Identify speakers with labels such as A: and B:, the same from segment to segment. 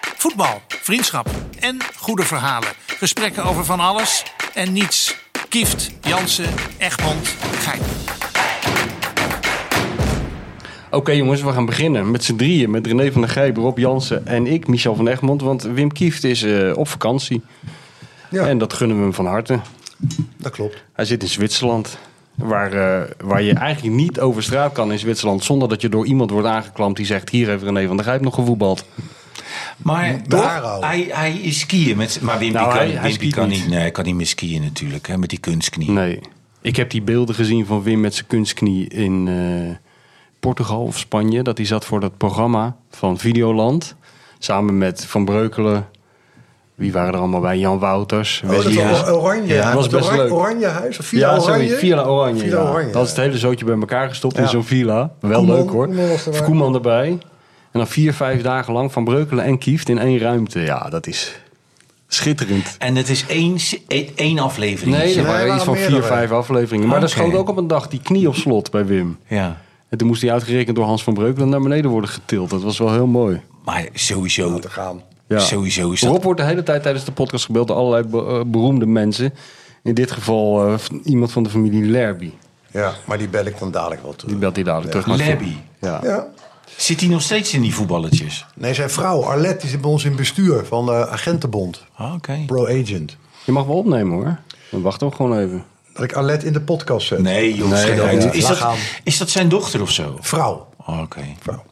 A: Voetbal, vriendschap en goede verhalen. Gesprekken over van alles en niets. Kieft, Jansen, Egmond, Gein.
B: Oké jongens, we gaan beginnen met z'n drieën. Met René van der Gijp, Rob Jansen en ik, Michel van Egmond. Want Wim Kieft is eh, op vakantie.
C: Ja.
B: En dat gunnen we hem van harte.
C: Dat klopt.
B: Hij zit in Zwitserland. Waar, eh, waar je eigenlijk niet over straat kan in Zwitserland. Zonder dat je door iemand wordt aangeklampt die zegt... hier heeft René van der Gijp nog gevoetbald.
D: Maar
C: Daar
D: toch,
C: al.
D: hij, hij is skiën. Met, maar Wimpy,
B: Nou,
D: kan,
B: hij- hij
D: Wimpy
B: skiet
D: kan,
B: niet.
D: niet, nee, hij kan niet meer skiën natuurlijk. Hè, met die kunstknie.
B: Nee. Ik heb die beelden gezien van Wim met zijn kunstknie in eh, Portugal of Spanje. Dat hij zat voor dat programma van Videoland. Samen met Van Breukelen. Wie waren er allemaal bij? Jan Wouters.
C: Oh, dat
B: Wesley
C: is
B: Haas.
C: oranje.
B: Ja, dat was
C: Het
B: best
C: oranje,
B: leuk.
C: Oranje huis of Villa
B: ja,
C: Oranje?
B: zoiets. Villa Oranje.
C: Villa
B: ja.
C: Oranje,
B: Dat is
C: ja.
B: het hele zootje bij elkaar gestopt in
C: Ja.
B: zo'n villa. Wel
C: Koeman-
B: leuk hoor.
C: Koeman was erbij.
B: Koeman erbij. En dan vier, vijf dagen lang van Breukelen en Kieft in één ruimte. Ja, dat is schitterend.
D: En het is één, s- één- één aflevering.
B: Nee, er
C: er waren
B: waren iets van vier,
C: meerdere.
B: vijf afleveringen. Maar dat
D: Oké.
B: schoot ook op een dag die knie op slot bij Wim.
D: Ja.
B: En toen moest hij uitgerekend door Hans van Breukelen naar beneden worden getild. Dat was wel heel mooi.
D: Maar sowieso,
C: Te gaan.
B: Ja.
D: sowieso is dat...
B: Rob wordt de hele tijd tijdens de podcast gebeld door allerlei be- eh, beroemde mensen. In dit geval eh, v- iemand van de familie Lerby.
C: Ja, maar die bel ik dan dadelijk wel terug.
B: Die belt hij dadelijk terug. maar-
D: Lerby.
B: Ja.
C: Ja.
D: Zit hij nog steeds in die voetballetjes?
C: Nee, zijn vrouw Arlette die zit bij ons in bestuur van de Agentenbond.
D: Ah, Oké.
C: Pro Agent.
B: Je mag wel opnemen hoor. Dan wacht toch gewoon even.
C: Dat ik Arlette in de podcast zet.
D: Nee, joh.
B: Nee,
D: schrik
B: dat
D: uit.
C: niet.
D: is,
C: Laat
D: dat,
C: gaan.
D: is dat zijn dochter of zo?
C: Vrouw.
D: Ah, Oké.
C: Vrouw.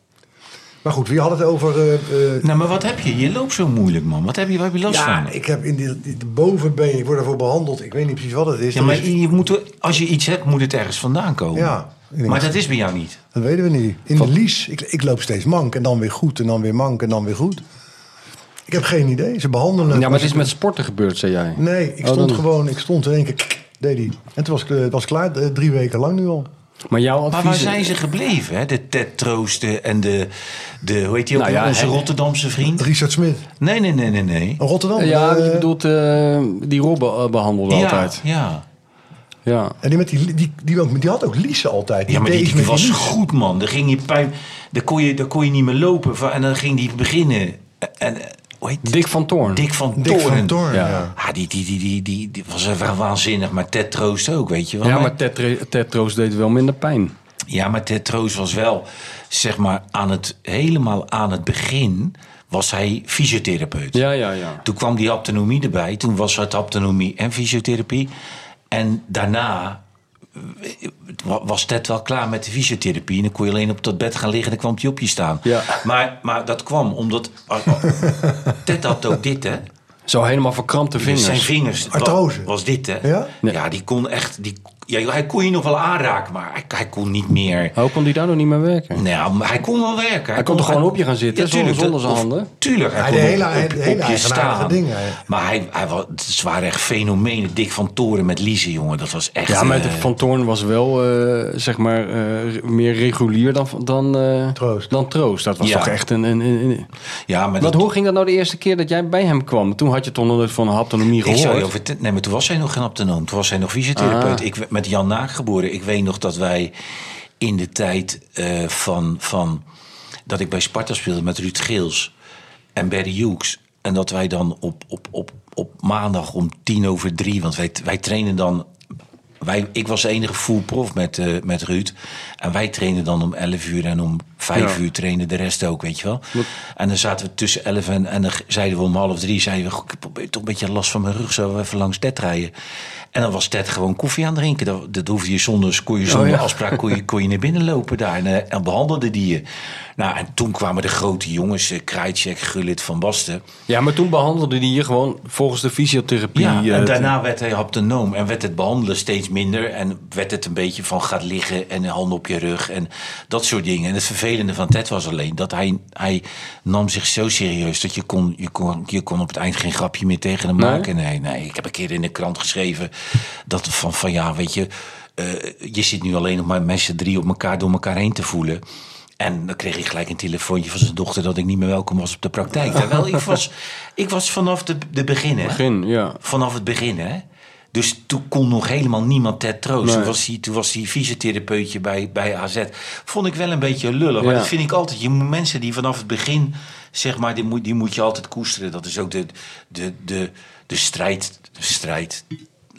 C: Maar goed, wie had het over... eh, eh,
D: Nou, maar wat heb je? Je loopt zo moeilijk, man. Wat heb je, waar heb je last
C: ja,
D: van?
C: ik heb in die, die- de bovenbeen, ik word ervoor behandeld. Ik weet niet precies wat het is.
D: ja,
C: Dat
D: maar
C: is-
D: je moet, er- als je iets hebt, moet het ergens vandaan komen.
C: Ja, ik denk
D: maar
C: het.
D: dat is bij jou niet.
C: Dat weten we niet. In de lies, ik, ik loop steeds mank en dan weer goed en dan weer mank en dan weer goed. Ik heb geen idee. Ze behandelen
B: Ja, maar het
C: ze-
B: is met sporten gebeurd, zei jij.
C: Nee, ik
B: Oh,
C: stond
B: dan-
C: gewoon, ik stond in één keer, kik, deed hij. En toen was ik, eh, het was klaar, eh, drie weken lang nu al.
B: Maar jouw advies...
D: Maar waar zijn ze gebleven? Hè? De Ted Troosten en de, de hoe heet die ook?
B: Nou ja,
D: onze
B: hè.
D: Rotterdamse vriend?
C: Richard Smit,
D: Nee, nee, nee, nee, nee.
C: een Rotterdam.
B: Ja,
C: eh,
B: je bedoelt eh, die Rob eh, behandelde
D: ja,
B: altijd.
D: Ja.
B: Ja.
C: En die, met die, die, die, die, had ook Lise altijd.
D: ja, maar
C: deed
D: die,
C: iets
D: die
C: met
D: was
C: Lise.
D: goed, man. Daar, ging je pijn, daar, kon je, daar kon je niet meer lopen. Van- En dan ging die beginnen. En, eh, hoe heet die?
B: Dick van Toorn.
D: Dick van Toorn.
C: Dick van Toorn,
B: Ja.
C: ja.
D: Ah, die, die, die, die, die, die was wel waanzinnig. Maar Ted Troost ook, weet je wel.
B: Ja, maar Ted, Ted Troost deed wel minder pijn.
D: Ja, maar Ted Troost was wel, zeg maar, aan het, helemaal aan het begin... was hij fysiotherapeut.
B: Ja, ja, ja.
D: Toen kwam die aptonomie erbij. Toen was het aptonomie en fysiotherapie. En daarna eh, wa- was Ted wel klaar met de fysiotherapie. En dan kon je alleen op dat bed gaan liggen en dan kwam hij op je staan.
B: Ja.
D: Maar, maar dat kwam omdat... eh, oh, Ted had ook dit, hè?
B: Zo helemaal verkrampte vingers.
D: Zijn vingers. wa-
C: Artrose.
D: Was dit, hè?
C: Ja?
B: Nee.
D: ja die kon echt... Die, ja, hij kon je nog wel aanraken, maar hij, hij kon niet meer...
B: Hoe kon die daar nog niet mee werken?
D: Nou, maar hij kon wel werken. Hij,
B: kon toch gewoon op je gaan zitten, zonder-
D: tuurlijk,
B: zonder zijn
D: of-
B: handen?
D: Tuurlijk, hij,
C: Hij
D: kon
C: deed
D: op-
C: hele-
D: op-
C: hele
D: op je
C: eigenaardige
D: staan.
C: dingen.
D: Maar hij, hij, wa- het waren echt fenomenen. Dick van Toren met Lize, jongen. Dat was echt...
B: Ja, maar
D: eh,
B: de Van Toorn was wel, eh, zeg maar, eh, re- meer regulier dan, dan, eh,
C: Troost.
B: dan Troost. Dat was
D: Ja.
B: toch echt een... een, een- een-
D: ja, maar
B: Wat,
D: dat-
B: hoe ging dat nou de eerste keer dat jij bij hem kwam? Toen had je toch nog nooit van haptonomie
D: Ik
B: gehoord?
D: zou je over... Nee, maar toen was hij nog geen aptenoom. Toen was hij nog fysiotherapeut.
B: Ah.
D: Ik werd met Jan Naak geboren. Ik weet nog dat wij in de tijd eh, van, van... Dat ik bij Sparta speelde met Ruud Geels en Barry Hughes. En dat wij dan op, op, op, op maandag om tien over drie... Want wij, wij trainen dan... Wij, ik was de enige full prof met, eh, met Ruud. En wij trainen dan om 11 uur en om 5
B: Ja.
D: uur trainen de rest ook, weet je wel. En dan zaten we tussen 11 en, en dan zeiden we om half drie, zeiden we, "Goh, ik heb toch een beetje last van mijn rug, zullen we even langs Ted rijden? En dan was Ted gewoon koffie aan het drinken. Dat, dat hoefde je zonder, kon je zonder
B: ja.
D: afspraak kon je, kon je naar binnen lopen daar. En, eh, en behandelde die je. Nou, en toen kwamen de grote jongens, eh, Krajcek, Gullit, Van Basten.
B: Ja, maar toen behandelde die je gewoon volgens de fysiotherapie.
D: Ja,
B: eh,
D: en daarna werd hij haptonoom en werd het behandelen steeds minder. En werd het een beetje van gaat liggen en handen op je rug en dat soort dingen. En het vervelende van Ted was alleen dat hij, hij nam zich zo serieus... dat je kon, je, kon, je kon op het eind geen grapje meer tegen hem
B: Nee?
D: maken. Nee, nee, ik heb een keer in de krant geschreven dat van, van ja, weet je... eh, je zit nu alleen nog maar met z'n drie op elkaar door elkaar heen te voelen... En dan kreeg ik gelijk een telefoontje van zijn dochter dat ik niet meer welkom was op de praktijk. Terwijl ik was, ik was vanaf de, de beginnen
B: Begin, ja.
D: vanaf het begin, hè? Dus toen kon nog helemaal niemand Ted troosten.
B: Nee.
D: Toen was hij, toen was hij fysiotherapeutje bij, bij AZ. Vond ik wel een beetje lullig. Maar
B: Ja.
D: dat vind ik altijd. Je moet mensen die vanaf het begin, zeg maar, die moet, die moet je altijd koesteren. Dat is ook de, de, de, de strijd. De strijd.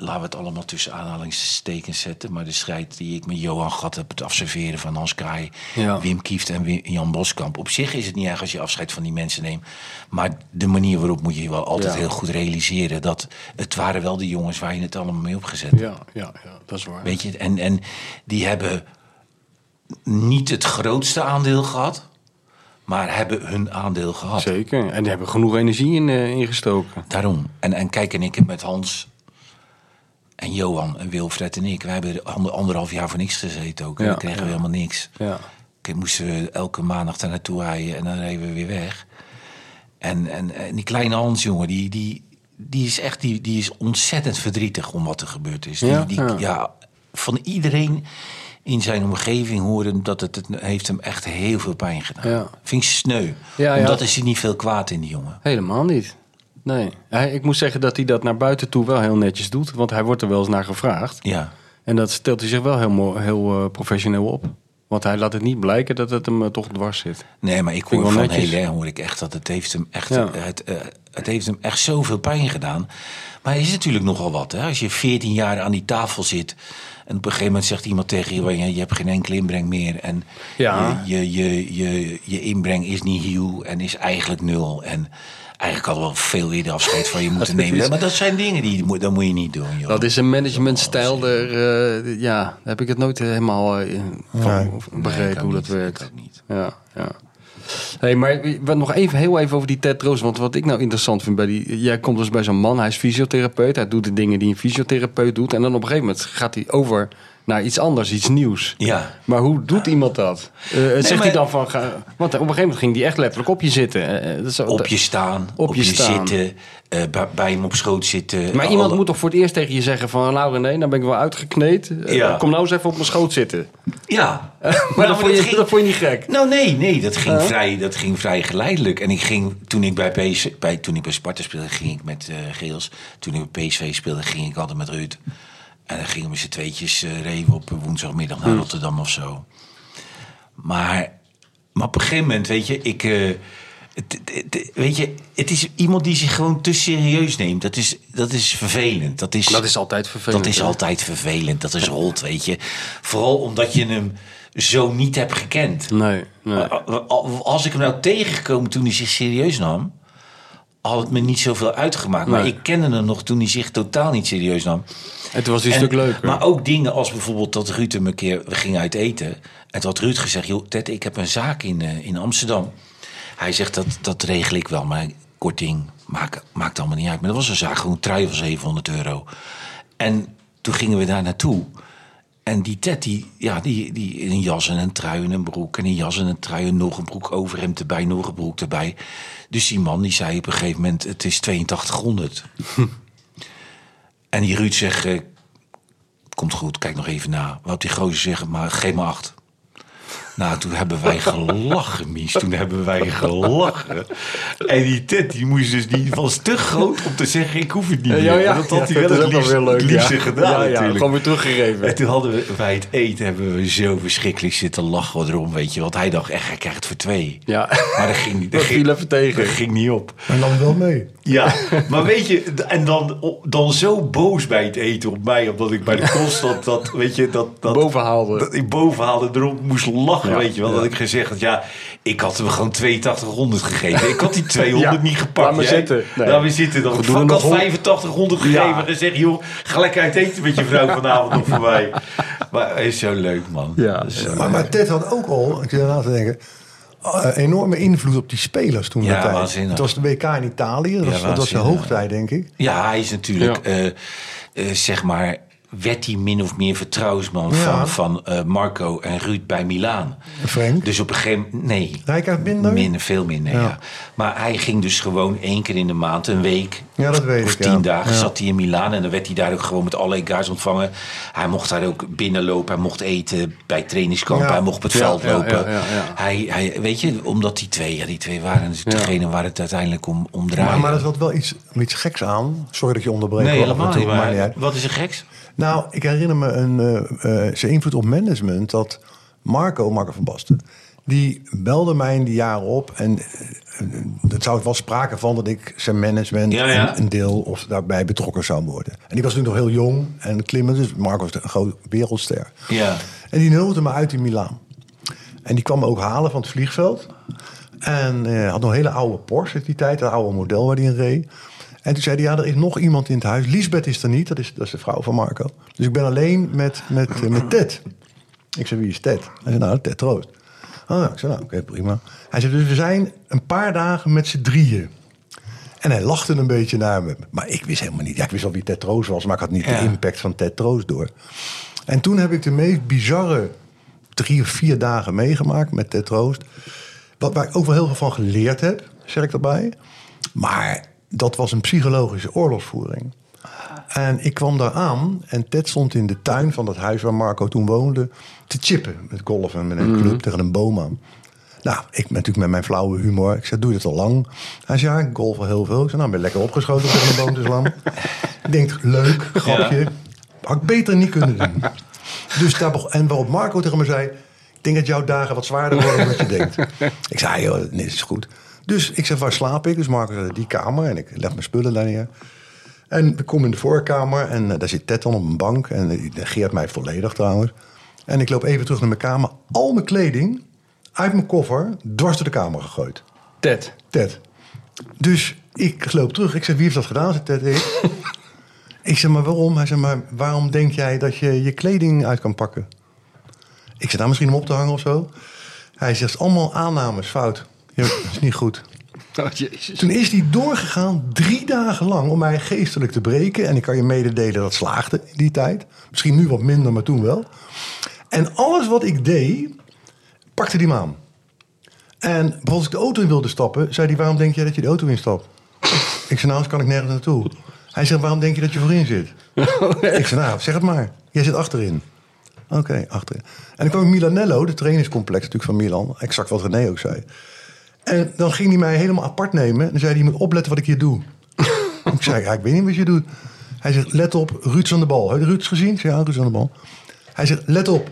D: Laten we het allemaal tussen aanhalingstekens zetten. Maar de strijd die ik met Johan gehad heb, het afserveren van Hans Kraai,
B: Ja.
D: Wim Kieft en Wim- Jan Boskamp. Op zich is het niet erg als je afscheid van die mensen neemt. Maar de manier waarop moet je wel altijd
B: Ja.
D: heel goed realiseren dat het waren wel de jongens waar je het allemaal mee opgezet hebt.
B: Ja, ja, ja, dat is waar.
D: Weet je, en, en die hebben niet het grootste aandeel gehad, maar hebben hun aandeel gehad.
B: Zeker. En die hebben genoeg energie in, eh, ingestoken.
D: Daarom. En, en kijk, en ik heb met Hans en Johan en Wilfred en ik, wij hebben er ander- anderhalf jaar voor niks gezeten ook. En
B: Ja,
D: dan kregen we
B: ja.
D: helemaal niks.
B: Ja.
D: Ik moesten we elke maandag daar naartoe rijden en dan reden we weer weg. En, en, en die kleine Hans, jongen, die, die, die is echt die, die is ontzettend verdrietig om wat er gebeurd is. Die,
B: Ja,
D: die,
B: ja.
D: ja. van iedereen in zijn omgeving horen dat het, het heeft hem echt heel veel pijn gedaan.
B: Ja.
D: Vind ik sneu.
B: Ja, ja.
D: Omdat er zit niet veel kwaad in die jongen.
B: Helemaal niet. Nee. Hij, ik moet zeggen dat hij dat naar buiten toe wel heel netjes doet. Want hij wordt er wel eens naar gevraagd.
D: Ja.
B: En dat stelt hij zich wel heel, mo- heel eh, professioneel op. Want hij laat het niet blijken dat het hem eh, toch dwars zit.
D: Nee, maar ik
B: Vind ik
D: hoor
B: wel
D: van
B: netjes.
D: Helen hoor ik echt dat het heeft hem echt,
B: Ja.
D: het, eh, het heeft hem echt zoveel pijn gedaan. Maar het is natuurlijk nogal wat. Hè? Als je 14 jaar aan die tafel zit en op een gegeven moment zegt iemand tegen je, "Ja, je hebt geen enkele inbreng meer en
B: Ja.
D: je, je, je, je, je inbreng is niet heel en is eigenlijk nul en eigenlijk al wel veel eerder afscheid van je moeten nemen.
B: is-
D: Maar dat zijn dingen die je moet- dat moet je niet doen. Joh.
B: Dat is een managementstijl. Er, eh, ja, daar heb ik het nooit helemaal eh, van begrepen
C: Nee.
D: Nee, ik ook
B: hoe dat
D: niet.
B: werkt.
D: Ik ook niet.
B: Ja, ja. Hey, maar wat nog even, heel even over die Ted Roos. Want wat ik nou interessant vind bij die. Jij komt dus bij zo'n man, hij is fysiotherapeut. Hij doet de dingen die een fysiotherapeut doet. En dan op een gegeven moment gaat hij over naar iets anders, iets nieuws.
D: Ja.
B: Maar hoe doet iemand dat? Eh, zegt
D: maar-
B: hij dan van. Ga, want op een gegeven moment ging hij echt letterlijk op je zitten. Eh, eh, dat is-
D: Op je staan, op, je,
B: staan.
D: zitten, eh, bij, bij hem op schoot zitten. eh,
B: Maar iemand
D: Alle-
B: moet toch voor het eerst tegen je zeggen van... nou René, nou ben ik wel uitgekneed. Eh,
D: Ja.
B: Kom nou eens even op mijn schoot zitten.
D: Ja.
B: maar dat, vond je, dat vond je niet gek.
D: Nou, nee, nee, dat ging, vrij, dat ging vrij geleidelijk. En ik ging, toen ik bij, PS, bij, toen ik bij Sparta speelde, ging ik met eh Geels. Toen ik bij PSV speelde, ging ik altijd met Ruud. En dan gingen we z'n tweetjes eh reven op woensdagmiddag
B: Hm.
D: naar Rotterdam of zo. Maar, maar op een gegeven moment, weet je, ik... eh, het- het- het- weet je, het is iemand die zich gewoon te serieus neemt. Dat is, dat is vervelend. Dat is,
B: Dat is altijd vervelend,
D: Dat is
B: hè?
D: altijd vervelend. Dat is rot, weet je. Vooral omdat je hem zo niet hebt gekend.
B: Nee, nee.
D: A- a- eh, Als ik hem nou tegengekomen toen hij zich serieus nam, had het me niet zoveel uitgemaakt. Maar
B: Nee.
D: ik kende hem nog toen hij zich totaal niet serieus nam.
B: En toen was hij een
D: En-
B: stuk leuker.
D: Maar ook dingen als bijvoorbeeld dat Ruud hem een keer... We gingen uit eten. En toen had Ruud gezegd... joh, Ted, ik heb een zaak in, eh, in Amsterdam. Hij zegt, dat, dat regel ik wel. Maar korting, maakt, maakt allemaal niet uit. Maar dat was een zaak, gewoon trui van 700 euro. En toen gingen we daar naartoe. En die Ted, die, ja, die, die in een jas en een trui en een broek... en een jas en een trui en nog een broek over hem erbij... nog een broek erbij. Dus die man die zei op een gegeven moment... het is 8200. en die Ruud zegt... eh, komt goed, kijk nog even na. Wat die gozer zeggen, maar geef me acht. Nou, toen hebben wij gelachen, Mies. Toen hebben wij gelachen. En die tent, die moest dus niet, was te groot om te zeggen, ik hoef het niet meer. En dat had hij wel
B: is
D: het
B: ook wel
D: liefst,
B: weer leuk,
D: het liefste
B: ja.
D: gedaan
B: Ja, ja,
D: natuurlijk.
B: gewoon weer teruggegeven.
D: En toen hadden we bij het eten hebben we zo verschrikkelijk zitten lachen erom, weet je. Want hij dacht echt, hij krijgt het voor twee.
B: Ja.
D: Maar dat ging niet.
B: Dat
D: ging-
B: viel even tegen.
D: Dat ging niet op.
C: Maar dan wel mee.
D: Ja, maar weet je, d- en dan, op- dan zo boos bij het eten op mij, omdat ik bij de constant dat, weet je, dat, dat
B: Bovenhaalde.
D: Dat ik boven haalde, erop moest lachen,
B: Ja,
D: weet je wel. Dat ik gezegd had, ja, ik had hem gewoon 8200 gegeven. Ik had die 200
B: Ja,
D: niet gepakt.
B: laat maar
D: jij.
B: zitten. Nee.
D: Laat maar zitten. Dan
B: Goed,
D: had
B: doen we nog
D: ik had
B: hond-
D: 8500
B: Ja.
D: gegeven en zeg, joh, gelijk uit eten met je vrouw vanavond nog voor mij. Maar hij is zo leuk, man.
B: Ja.
D: Zo
C: Maar,
D: leuk.
C: maar Ted had ook al, ik zit eraan te denken, eh, enorme invloed op die spelers toen.
D: Ja,
C: de tijd.
D: waanzinnig.
C: Het was de WK in Italië, dat, was, dat was de
D: waanzinnig.
C: hoogtijd, denk ik.
D: Ja, hij is natuurlijk,
B: Ja.
D: eh, eh, zeg maar, werd hij min of meer vertrouwensman
C: Ja.
D: van, van eh, Marco en Ruud bij Milaan.
C: Frank?
D: Dus op een gegeven moment, nee.
C: Hij krijgt minder?
D: Minder, veel minder, ja.
C: Ja.
D: Maar hij ging dus gewoon één keer in de maand, een week
C: Ja, dat weet
D: of
C: ik,
D: tien
C: ja.
D: dagen,
C: Ja.
D: zat hij in Milaan. En dan werd hij daar ook gewoon met alle egaars ontvangen. Hij mocht daar ook binnenlopen, hij mocht eten bij trainingskampen,
C: Ja.
D: hij mocht op het
B: Ja,
D: veld
B: ja,
D: lopen.
B: ja, ja, ja.
D: Hij, hij, weet je, omdat die twee, ja, die twee waren natuurlijk
B: Ja.
D: degene waar het uiteindelijk om, om draaide.
C: Maar, maar dat had wel iets, iets geks aan. Sorry dat je onderbreekt.
D: nee,
C: hoor, af en
D: helemaal
C: toe,
D: niet.
C: maakt
D: Maar,
C: niet uit.
D: wat is er geks?
C: Nou, ik herinner me een, eh, eh, zijn invloed op management. Dat Marco, Marco van Basten, die belde mij in die jaren op. En eh, eh, dat zou het wel sprake van dat ik zijn management
D: Ja, ja.
C: Een, een deel of daarbij betrokken zou worden. En ik was toen nog heel jong en klimmen. Dus Marco was een groot wereldster.
D: Ja.
C: En die nulde me uit in Milaan. En die kwam me ook halen van het vliegveld. En eh, had nog een hele oude Porsche uit die tijd, een oude model waar hij in reed. En toen zei hij, ja, er is nog iemand in het huis. Lisbeth is er niet, dat is, dat is de vrouw van Marco. Dus ik ben alleen met, met, eh, met Ted. Ik zei, wie is Ted? Hij zei, nou, Ted Troost. Oh, ja. ik zei, nou, oké, prima. Hij zei, dus we zijn een paar dagen met z'n drieën. En hij lachte een beetje naar me. Maar ik wist helemaal niet. Ja, ik wist al wie Ted Troost was, maar ik had niet
D: Ja.
C: de impact van Ted Troost door. En toen heb ik de meest bizarre drie of vier dagen meegemaakt met Ted Troost. Wat, waar ik ook wel heel veel van geleerd heb, zeg ik daarbij. Maar dat was een psychologische oorlogsvoering. En ik kwam daar aan en Ted stond in de tuin van dat huis waar Marco toen woonde... te chippen met golfen met een club tegen een boom aan. Nou, ik ben natuurlijk met mijn flauwe humor. Ik zei, doe je dat al lang? Hij zei, ja, ik golf al heel veel. Ik zei, nou, ben je lekker opgeschoten tegen een boom te slaan. ik denk, leuk, grapje. Had ik beter niet kunnen doen. Dus daar begon, en waarop Marco tegen me zei... ik denk dat jouw dagen wat zwaarder worden dan dat je denkt. Ik zei, "Ah, joh, nee, dat is goed. Dus ik zei, waar slaap ik? Dus Marco zei, die kamer. En ik leg mijn spullen daar neer. En we komen in de voorkamer en eh, daar zit Ted dan op een bank. En eh, die negeert mij volledig trouwens. En ik loop even terug naar mijn kamer. Al mijn kleding uit mijn koffer dwars door de kamer gegooid.
B: Ted.
C: Ted. Dus ik loop terug. Ik zeg, wie heeft dat gedaan? Zegt Ted, ik. ik zeg, maar waarom? Hij zegt, maar waarom denk jij dat je je kleding uit kan pakken? Ik zeg, nou misschien om op te hangen of zo. Hij zegt, allemaal aannames, fout. Ja, dat is niet goed.
B: Oh, jezus.
C: Toen is hij doorgegaan drie dagen lang om mij geestelijk te breken. En ik kan je mededelen dat slaagde in die tijd. Misschien nu wat minder, maar toen wel. En alles wat ik deed, pakte hij me aan. En bijvoorbeeld als ik de auto in wilde stappen, zei hij... waarom denk jij dat je de auto instapt? ik zei, nou, anders kan ik nergens naartoe. Hij zegt, waarom denk je dat je voorin zit? ik zei, nou, zeg het maar. Jij zit achterin. Oké, achterin. En dan kwam ik Milanello, de trainingscomplex natuurlijk van Milan. Exact wat René ook zei. En dan ging hij mij helemaal apart nemen. En dan zei hij, je moet opletten wat ik hier doe. ik zei, ja, ik weet niet wat je doet. Hij zegt, let op, Ruud is aan de bal. Heb je Ruud gezien? Ik zei, ja, Ruud is aan de bal. Hij zegt, let op.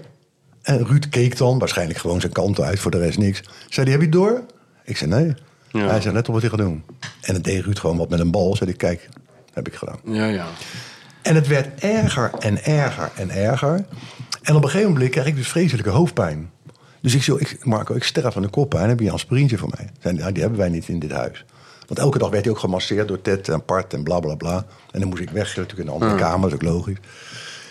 C: En Ruud keek dan, waarschijnlijk gewoon zijn kanten uit, voor de rest niks. Zei hij, heb je het door? Ik zei, nee.
B: Ja.
C: Hij zei, let op wat hij gaat doen. En dan deed Ruud gewoon wat met een bal. Zei hij, kijk, heb ik gedaan.
B: Ja, ja.
C: En het werd erger en erger en erger. En op een gegeven moment kreeg ik dus vreselijke hoofdpijn. Dus ik zei, ik, Marco, ik sterf aan de koppijn. Heb je een aspirintje voor mij? Zei, hij, nou, die hebben wij niet in dit huis. Want elke dag werd hij ook gemasseerd door Ted en Part en bla bla bla. En dan moest ik weg, natuurlijk in een andere kamer, dat is ook logisch.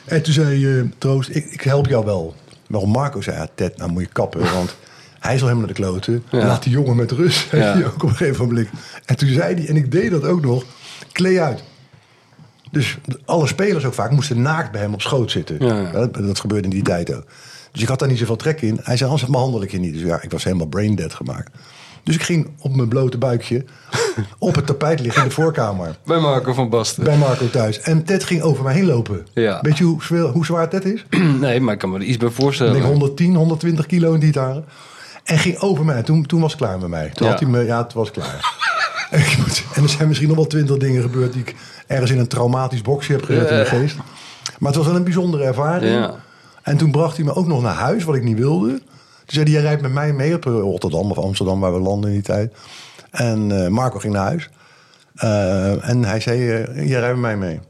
C: En toen zei je, Troost, ik, ik help jou wel. Waarom Marco zei, ja, Ted, nou moet je kappen, want hij is al helemaal naar de kloten. Laat die jongen met rust, zei
B: Ja.
C: hij ook op een gegeven moment. En toen zei hij, en ik deed dat ook nog, klee uit. Dus alle spelers ook vaak moesten naakt bij hem op schoot zitten.
B: Ja, ja.
C: Dat, dat gebeurde in die tijd ook. Dus ik had daar niet zoveel trek in. Hij zei, anders behandel ik je niet. Dus ja, ik was helemaal brain dead gemaakt. Dus ik ging op mijn blote buikje op het tapijt liggen in de voorkamer.
B: Bij Marco van Basten.
C: Bij Marco thuis. En Ted ging over mij heen lopen.
B: Ja.
C: Weet je hoe, zwaar- hoe zwaar Ted is?
B: Nee, maar ik kan me er iets bij
C: Ik denk
B: voorstellen.
C: 110, 120 kilo in die jaren. En ging over mij. En toen, toen was het klaar met mij. Toen
B: Ja.
C: had hij me, ja, het was klaar. en ik moet- en er zijn misschien nog wel twintig dingen gebeurd die ik ergens in een traumatisch boxje heb gezet in de geest. Maar het was wel een bijzondere ervaring.
B: Ja.
C: En toen bracht hij me ook nog naar huis, wat ik niet wilde. Toen zei hij, jij rijdt met mij mee op eh, Rotterdam of Amsterdam, waar we landen in die tijd. En eh, Marco ging naar huis. Eh, en hij zei, eh, jij rijdt met mij mee.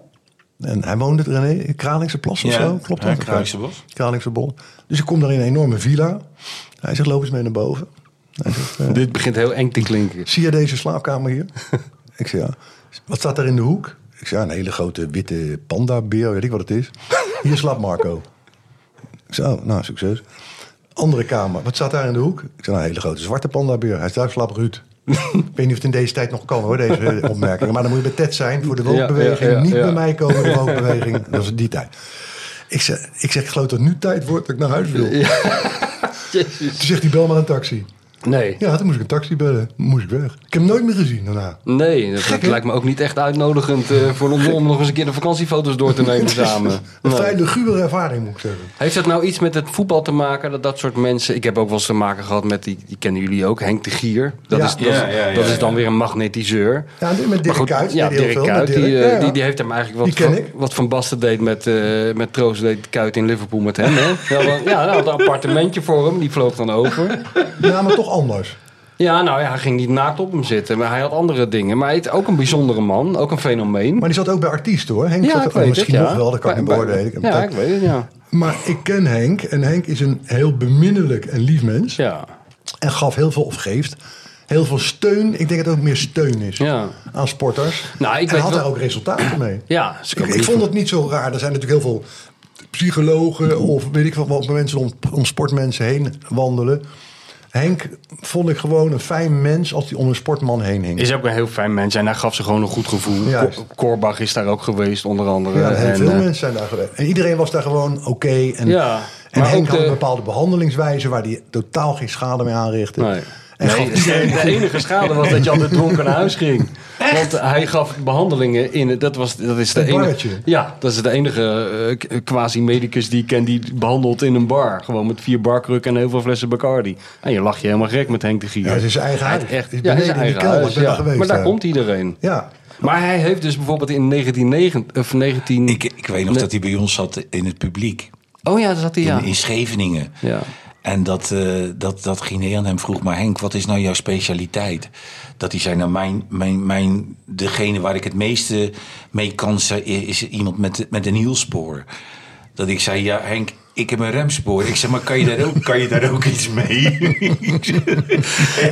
C: En hij woonde, René, in Kralingse Plas of
D: Ja.
C: zo? Klopt
D: Ja,
C: dat?
D: Kralingse Bos.
C: Kralingse Bos. Dus ik kom daar in een enorme villa. Hij zegt, loop eens mee naar boven. Hij zegt, eh,
B: Dit begint heel eng te klinken.
C: zie je deze slaapkamer hier? ik zeg, ja. Wat staat daar in de hoek? Ik zeg, ja, een hele grote witte pandabeer, weet ik wat het is. Hier slaapt Marco. Ik zeg, oh, nou, succes. Andere kamer, wat staat daar in de hoek? Ik zeg, nou, een hele grote zwarte pandabeer. Hij staat slaapt Ruud. ik weet niet of het in deze tijd nog kan, hoor, deze eh, opmerkingen. Maar dan moet je bij Ted zijn voor de
B: Ja,
C: wookbeweging.
B: ja, ja,
C: niet
B: ja.
C: bij mij komen, de wookbeweging. Dat was in die tijd. Ik zeg, ik zeg, ik geloof dat het nu tijd wordt dat ik naar huis wil. Toen zegt hij, bel maar een taxi.
B: Nee.
C: Ja, toen moest ik een taxi bellen. Moest ik weg. Ik heb hem nooit meer gezien daarna.
B: Nee, dat, dat
C: hè?
B: lijkt me ook niet echt uitnodigend eh, voor om, om nog eens een keer de vakantiefoto's door te nemen samen.
C: Een
B: Nee.
C: fijn lugubere ervaring, moet ik zeggen.
B: Heeft dat nou iets met het voetbal te maken? Dat dat soort mensen. Ik heb ook wel eens te maken gehad met die. Die kennen jullie ook, Henk de Gier. Dat,
C: Ja.
B: is, dat,
D: Ja,
B: is-
D: ja, ja,
B: dat is
D: ja.
B: dan weer een magnetiseur.
C: Ja, met Dirk
B: Maar goed,
C: Kuyt
B: Ja,
C: deed hij heel
B: Dirk
C: veel, met
B: Kuyt. Die,
C: Dirk,
B: eh,
C: ja, ja.
B: die, die heeft hem eigenlijk wat,
C: Die ken
B: van,
C: ik.
B: wat Van Basten deed met, eh, met Troost deed Kuyt in Liverpool met hem. Hè? Ja, wel- ja, hij had een appartementje voor hem. Die vloog dan over.
C: Ja, maar toch anders.
B: Ja, nou ja, hij ging niet naakt op hem zitten. Maar hij had andere dingen. Maar hij is ook een bijzondere man. Ook een fenomeen.
C: Maar die zat ook bij artiesten hoor. Henk
B: ja,
C: zat
B: ik
C: ook
B: weet
C: misschien
B: het, ja.
C: nog wel, dat kan ik
B: Bij- bij-
C: niet beoordelen. Ik heb
B: Ja,
C: tijd.
B: ik weet het, ja.
C: Maar ik ken Henk en Henk is een heel beminnelijk en lief mens.
B: Ja.
C: En gaf heel veel, of geeft, heel veel steun. Ik denk dat het ook meer steun is
B: Ja.
C: aan sporters.
B: Nou, ik
C: en
B: weet
C: had
B: wel-
C: daar ook resultaten mee.
B: Ja, ze
C: Ik,
B: komen
C: ik
B: niet
C: vond het niet zo raar. Er zijn natuurlijk heel veel psychologen
B: Mm.
C: of weet ik wat, wat mensen om, om sportmensen heen wandelen. Henk vond ik gewoon een fijn mens als hij om een sportman heen hing.
B: Is ook een heel fijn mens en hij gaf ze gewoon een goed gevoel.
C: Juist.
B: Ko- Korbach is daar ook geweest, onder andere.
C: Ja, heel
B: en,
C: veel
B: eh,
C: mensen zijn daar geweest. En iedereen was daar gewoon oké. En,
B: Ja,
C: en
B: maar
C: Henk
B: ook
C: had
B: de-
C: een bepaalde behandelingswijze waar hij totaal geen schade mee aanrichtte.
B: Nee.
C: En
B: Nee, eh,
C: gaf iedereen-
B: de enige schade was dat je altijd dronken naar huis ging. Want hij gaf behandelingen in. het- Dat, was, dat is de
C: Een
B: enige.
C: barretje.
B: Ja, dat is de enige eh, k- quasi-medicus die ik ken die behandelt in een bar. Gewoon met vier barkrukken en heel veel flessen Bacardi. En je lacht je helemaal gek met Henk de Gier.
C: Ja, het is zijn eigen
B: Hij
C: huis.
B: Echt,
C: Het is
B: ja, het is
C: beneden
B: zijn
C: in de
B: eigen
C: kelder.
B: huis.
C: Ik ben
B: ja.
C: daar geweest,
B: maar daar
C: ja.
B: komt iedereen.
C: ja,
B: Maar hij heeft dus bijvoorbeeld in 1990 of 19.
D: Ik, ik weet nog
B: Nee.
D: dat hij bij ons zat in het publiek.
B: Oh ja, daar zat hij ja.
D: in, in Scheveningen.
B: Ja.
D: En dat, eh dat, dat Guinea aan hem vroeg, maar Henk, wat is nou jouw specialiteit? Dat hij zei, nou mijn, mijn, mijn, degene waar ik het meeste mee kan, ze- is iemand met, met een hielspoor. Dat ik zei, ja Henk, ik heb een remspoor. Ik zeg, maar kan je daar ook, kan je daar ook iets mee?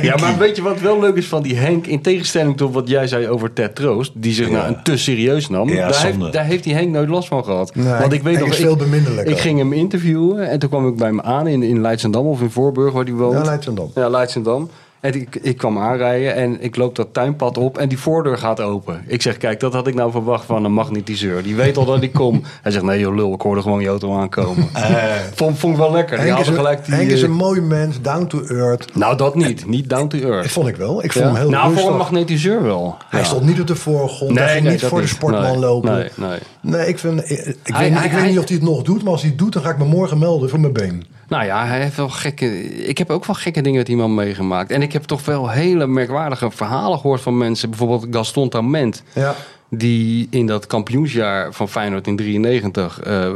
B: Ja, maar weet je wat wel leuk is van die Henk? In tegenstelling tot wat jij zei over Ted Troost, die zich nou een te serieus nam.
D: Ja,
B: daar,
D: zonde.
B: heeft, daar heeft die Henk nooit last van gehad.
C: Nee,
B: Want ik weet
C: Henk
B: nog,
C: is
B: ik-
C: veel beminnelijker.
B: Ik ging hem interviewen en toen kwam ik bij hem aan in, in Leidsendam of in Voorburg, waar hij woont.
C: Ja, Leidschendam.
B: Ja, Leidsendam. En ik, ik kwam aanrijden en ik loop dat tuinpad op en die voordeur gaat open. Ik zeg, kijk, dat had ik nou verwacht van een magnetiseur. Die weet al dat ik kom. Hij zegt, nee joh lul, ik hoorde gewoon je auto aankomen.
D: Eh.
B: vond, vond ik wel lekker. Die
C: Henk, is
B: hadden
C: een,
B: gelijk die,
C: Henk is
B: eh,
C: een mooi mens, down to earth.
B: Nou, dat niet. Niet down to earth.
C: Dat vond ik wel. Ik vond hem heel
B: nou,
C: rustig.
B: voor een magnetiseur wel.
C: Hij stond niet op de voorgrond. hij ging niet
B: dat
C: voor de sportman
B: Nee,
C: lopen.
B: Nee, nee.
C: Nee, ik, vind, ik, ik
B: Hij-
C: weet, niet-
B: hij-
C: ik weet
B: hij-
C: niet of hij het nog doet, maar als hij het doet, dan ga ik me morgen melden voor mijn been.
B: Nou ja, hij heeft wel gekke. Ik heb ook wel gekke dingen met iemand meegemaakt. En ik heb toch wel hele merkwaardige verhalen gehoord van mensen. Bijvoorbeeld Gaston Tament.
C: Ja.
B: Die in dat kampioensjaar van Feyenoord in 93 eh,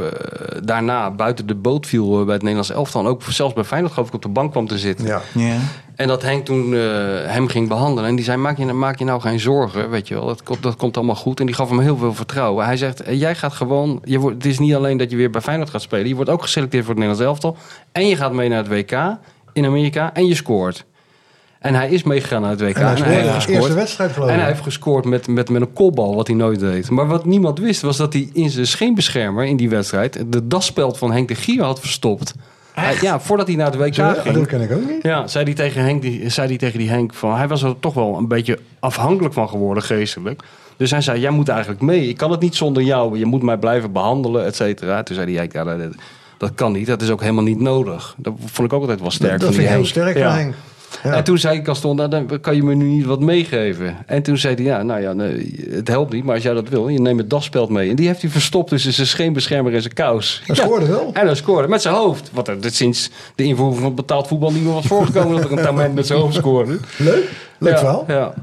B: daarna buiten de boot viel eh, bij het Nederlands elftal. En ook zelfs bij Feyenoord geloof ik op de bank kwam te zitten.
C: Ja.
D: Ja.
B: En dat Henk toen eh, hem ging behandelen. En die zei, maak je, maak je nou geen zorgen, weet je wel. Dat, komt- dat komt allemaal goed. En die gaf hem heel veel vertrouwen. Hij zegt, eh, jij gaat gewoon... Je wordt, het is niet alleen dat je weer bij Feyenoord gaat spelen. Je wordt ook geselecteerd voor het Nederlands elftal. En je gaat mee naar het WK in Amerika. En je scoort. En hij is meegegaan naar het WK.
C: En hij scoorde
B: heeft
C: de
B: gescoord.
C: eerste wedstrijd, geloof ik.
B: En hij heeft gescoord met, met, met een kopbal, wat hij nooit deed. Maar wat niemand wist, was dat hij in zijn scheenbeschermer in die wedstrijd... de daspeld van Henk de Gier had verstopt. Hij- ja, voordat hij naar het WK
C: Zo,
B: ging.
C: dat ken ik ook niet.
B: Ja, zei die tegen Henk, die, zei die tegen die Henk van... Hij was er toch wel een beetje afhankelijk van geworden, geestelijk. Dus hij zei, jij moet eigenlijk mee. Ik kan het niet zonder jou. Je moet mij blijven behandelen, et cetera. Toen zei die Henk, ja, dat, dat kan niet. Dat is ook helemaal niet nodig. Dat vond ik ook altijd wel sterk
C: Dat
B: van
C: vind
B: die
C: ik heel
B: Henk.
C: sterk
B: Ja.
C: van Henk. Ja.
B: En toen zei ik Gaston, nou, dan kan je me nu niet wat meegeven. En toen zei hij, ja, nou ja, nee, het helpt niet. Maar als jij dat wil, je neemt het daspeld mee. En die heeft hij verstopt dus tussen zijn scheenbeschermer en zijn kous.
C: Hij
B: Ja.
C: scoorde wel.
B: En hij scoorde met zijn hoofd. Wat er sinds de invoering van betaald voetbal niet meer was voorgekomen... dat er een tament met zijn hoofd scoorde.
C: Leuk. Leuk
B: ja,
C: verhaal.
B: Ja.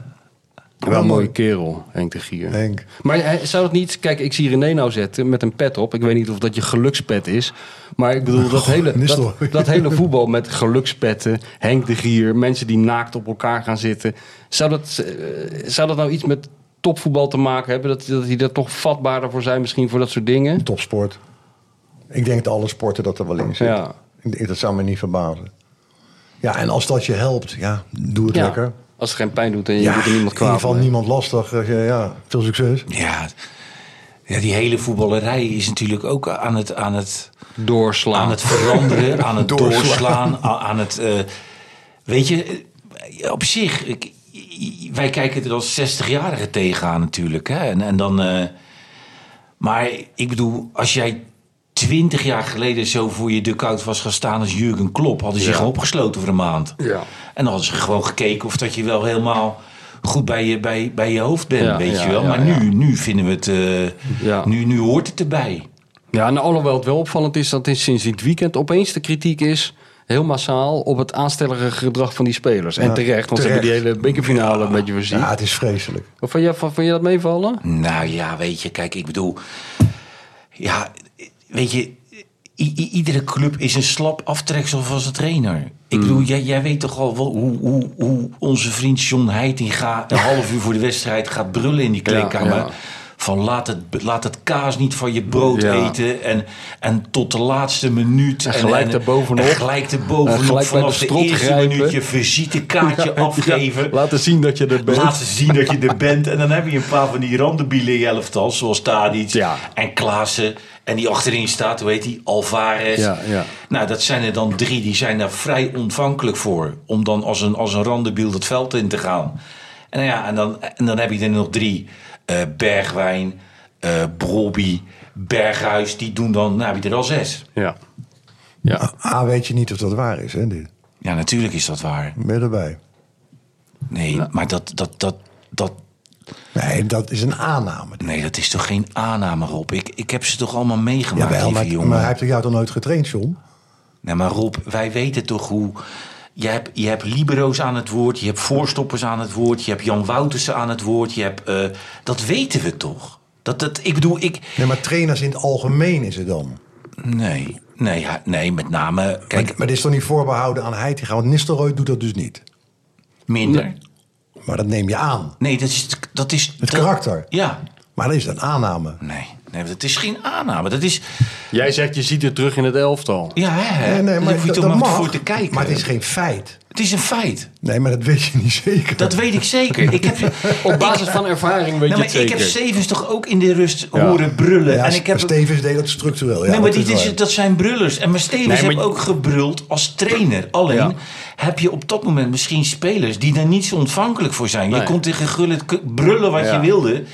B: Wel
C: Wel
B: een mooie
C: mooi.
B: kerel, Henk de Gier.
C: Henk.
B: Maar hij- zou dat niet... Kijk, ik zie René nou zetten met een pet op. Ik weet niet of dat je gelukspet is. Maar ik bedoel,
C: Oh,
B: dat, hele, dat,
C: Nistelrooy.
B: dat hele voetbal met gelukspetten... Henk de Gier, mensen die naakt op elkaar gaan zitten. Zou dat, eh, zou dat nou iets met topvoetbal te maken hebben? Dat, dat die daar toch vatbaarder voor zijn misschien voor dat soort dingen?
C: Topsport. Ik denk dat alle sporten dat er wel in zit.
B: Ja.
C: Ik denk- Dat zou me niet verbazen. Ja, en als dat je helpt, ja, doe het lekker.
B: Als het geen pijn doet en je
C: Ja,
B: doet er
C: in
B: niemand
C: ieder
B: kwaad
C: geval
B: mee.
C: niemand lastig. eh, Ja, ja, veel succes.
D: ja. Ja, die hele voetballerij is natuurlijk ook aan het, aan het
B: doorslaan.
D: Aan het veranderen, aan het
C: Doorslaan.
D: doorslaan, a- aan het. eh, weet je, eh, op zich, ik- wij kijken er als 60-jarigen tegenaan natuurlijk. Hè? En, en dan. eh, maar ik bedoel, als jij twintig jaar geleden zo voor je dugout was gaan staan als Jurgen Klopp. Hadden ze je gewoon opgesloten voor een maand.
B: Ja.
D: En dan hadden ze gewoon gekeken of dat je wel helemaal goed bij je, bij, bij je hoofd bent,
B: Ja,
D: weet
B: ja,
D: je wel.
B: ja,
D: maar
B: ja.
D: Nu, nu vinden we het... eh,
B: Ja.
D: nu, nu hoort het erbij.
B: Ja, en alhoewel het wel opvallend is dat dit sinds dit weekend opeens de kritiek is... heel massaal op het aanstellige gedrag van die spelers. En
C: Ja,
B: terecht, want ze
C: terecht.
B: hebben die hele bekerfinale een beetje voorzien.
C: Ja, het is vreselijk.
B: Of vond je, vond, vond je dat meevallen?
D: Nou ja, weet je, kijk, ik bedoel... Ja, weet je... i- i- iedere club is een slap aftreksel van zijn trainer. Ik
B: Mm.
D: bedoel, jij, jij weet toch al wel hoe, hoe, hoe onze vriend John Heitinga... een half uur voor de wedstrijd gaat brullen in die kleedkamer...
B: ja.
D: Van laat het, laat het kaas niet van je brood
B: Ja.
D: eten. En, en tot de laatste minuut.
B: En gelijk daarbovenop.
D: En gelijk
B: En
D: erbovenop.
B: gelijk bij de
D: Vanaf de,
B: strot
D: eerste
B: grijpen.
D: minuut je visitekaartje afgeven.
B: Ja, laten zien dat je er bent.
D: Laat ze zien dat je er bent. En dan heb je een paar van die randenbielen in je elftal. Zoals Tadic
B: Ja.
D: en Klaassen. En die achterin staat, hoe heet die? Alvarez.
B: Ja, ja.
D: Nou, dat zijn er dan drie. Die zijn daar vrij ontvankelijk voor. Om dan als een, als een randenbiel dat veld in te gaan. En, nou ja, en, dan, en dan heb je er nog drie. Eh, Bergwijn, eh Brobby, Berghuis. Die doen dan, nou heb je er al zes.
B: Ja. Ja.
C: A, Ah, weet je niet of dat waar is, hè, dit.
D: Ja, natuurlijk is dat waar.
C: Meer erbij.
D: Nee, maar dat, dat, dat, dat,
C: Nee, dat is een aanname.
D: Nee, dat is toch geen aanname, Rob? Ik, ik heb ze toch allemaal meegemaakt,
C: Jawel,
D: lieve
C: maar,
D: jongen?
C: maar hij heeft jou toch nooit getraind, John?
D: Nee, maar Rob, wij weten toch hoe... Je hebt, je hebt libero's aan het woord, je hebt voorstoppers aan het woord... je hebt Jan Woutersen aan het woord, je hebt... eh, dat weten we toch? Dat, dat, ik bedoel, ik...
C: Nee, maar trainers in het algemeen is het dan.
D: Nee, nee, ja, nee met name... Kijk,
C: Maar dit is toch niet voorbehouden aan Heitinga? Want Nistelrooy doet dat dus niet.
D: minder.
C: Maar dat neem je aan.
D: Nee, dat is... Dat is
C: Het
D: dat-
C: karakter.
D: Ja,
C: Maar dat is een aanname.
D: nee. Nee, dat is geen aanname. Dat is...
B: Jij zegt, je ziet het terug in het elftal.
D: Ja, hè?
C: Nee, nee,
D: Daar
C: maar
D: hoef je
C: dat-
D: toch
C: dat
D: maar
C: mag,
D: voor te kijken.
C: Maar het is geen feit.
D: het is een feit.
C: Nee, maar dat weet je niet zeker.
D: Dat weet ik zeker. Ik heb,
B: Op basis van ervaring weet je
D: Nou, maar
B: het zeker.
D: ik heb Stevens toch ook in de rust
B: Ja.
D: horen brullen.
C: ja,
D: en ik heb,
C: Stevens deed dat structureel. Ja,
D: nee, maar
C: dat
D: dit
C: is
D: is,
C: waar.
D: dat zijn brullers. En maar Stevens
B: Nee, maar-
D: heeft ook gebruld als trainer. Alleen
B: Ja.
D: heb je op dat moment misschien spelers die daar niet zo ontvankelijk voor zijn.
B: Nee.
D: Je kon tegen Gullit k- brullen wat
B: Ja.
D: je wilde.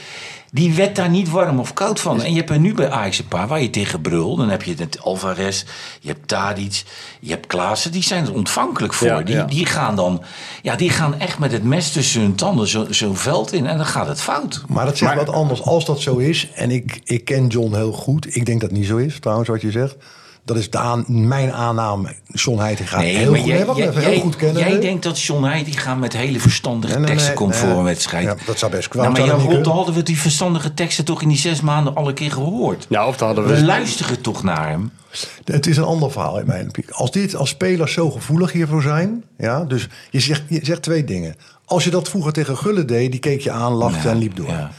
D: Die werd daar niet warm of koud van. En je hebt er nu bij Ajax een paar waar je tegen brult. Dan heb je het Alvarez, je hebt Tadic, je hebt Klaassen. Die zijn er ontvankelijk voor.
B: Ja,
D: die,
B: ja.
D: die gaan dan ja, die gaan echt met het mes tussen hun tanden zo- zo'n veld in. En dan gaat het fout.
C: Maar dat zegt
B: Maar-
C: wat anders. Als dat zo is, en ik, ik ken John heel goed. Ik denk dat het niet zo is, trouwens, wat je zegt. Dat is de aan, mijn aanname, John Heitinga. Nou, heel goed, nee, wacht even, heel goed kennen.
D: jij denkt dat John Heitinga gaat met hele verstandige
C: Nee, nee,
D: teksten
C: nee,
D: komt
C: nee.
D: voor een wedstrijd.
C: Ja, dat zou best kwaad
D: Nou,
C: zijn,
D: maar Jan
C: dat niet
D: Rob, dan
C: kunnen.
D: hadden we die verstandige teksten toch in die zes maanden alle keer gehoord.
B: Ja, of daar hadden
D: We
B: we...
D: luisteren toch naar hem.
C: Het is een ander verhaal in mijn optiek. Als dit als spelers zo gevoelig hiervoor zijn. Ja, dus je zegt, je zegt twee dingen. Als je dat vroeger tegen Gullen deed, die keek je aan, lachte
D: Ja,
C: en liep door.
D: ja.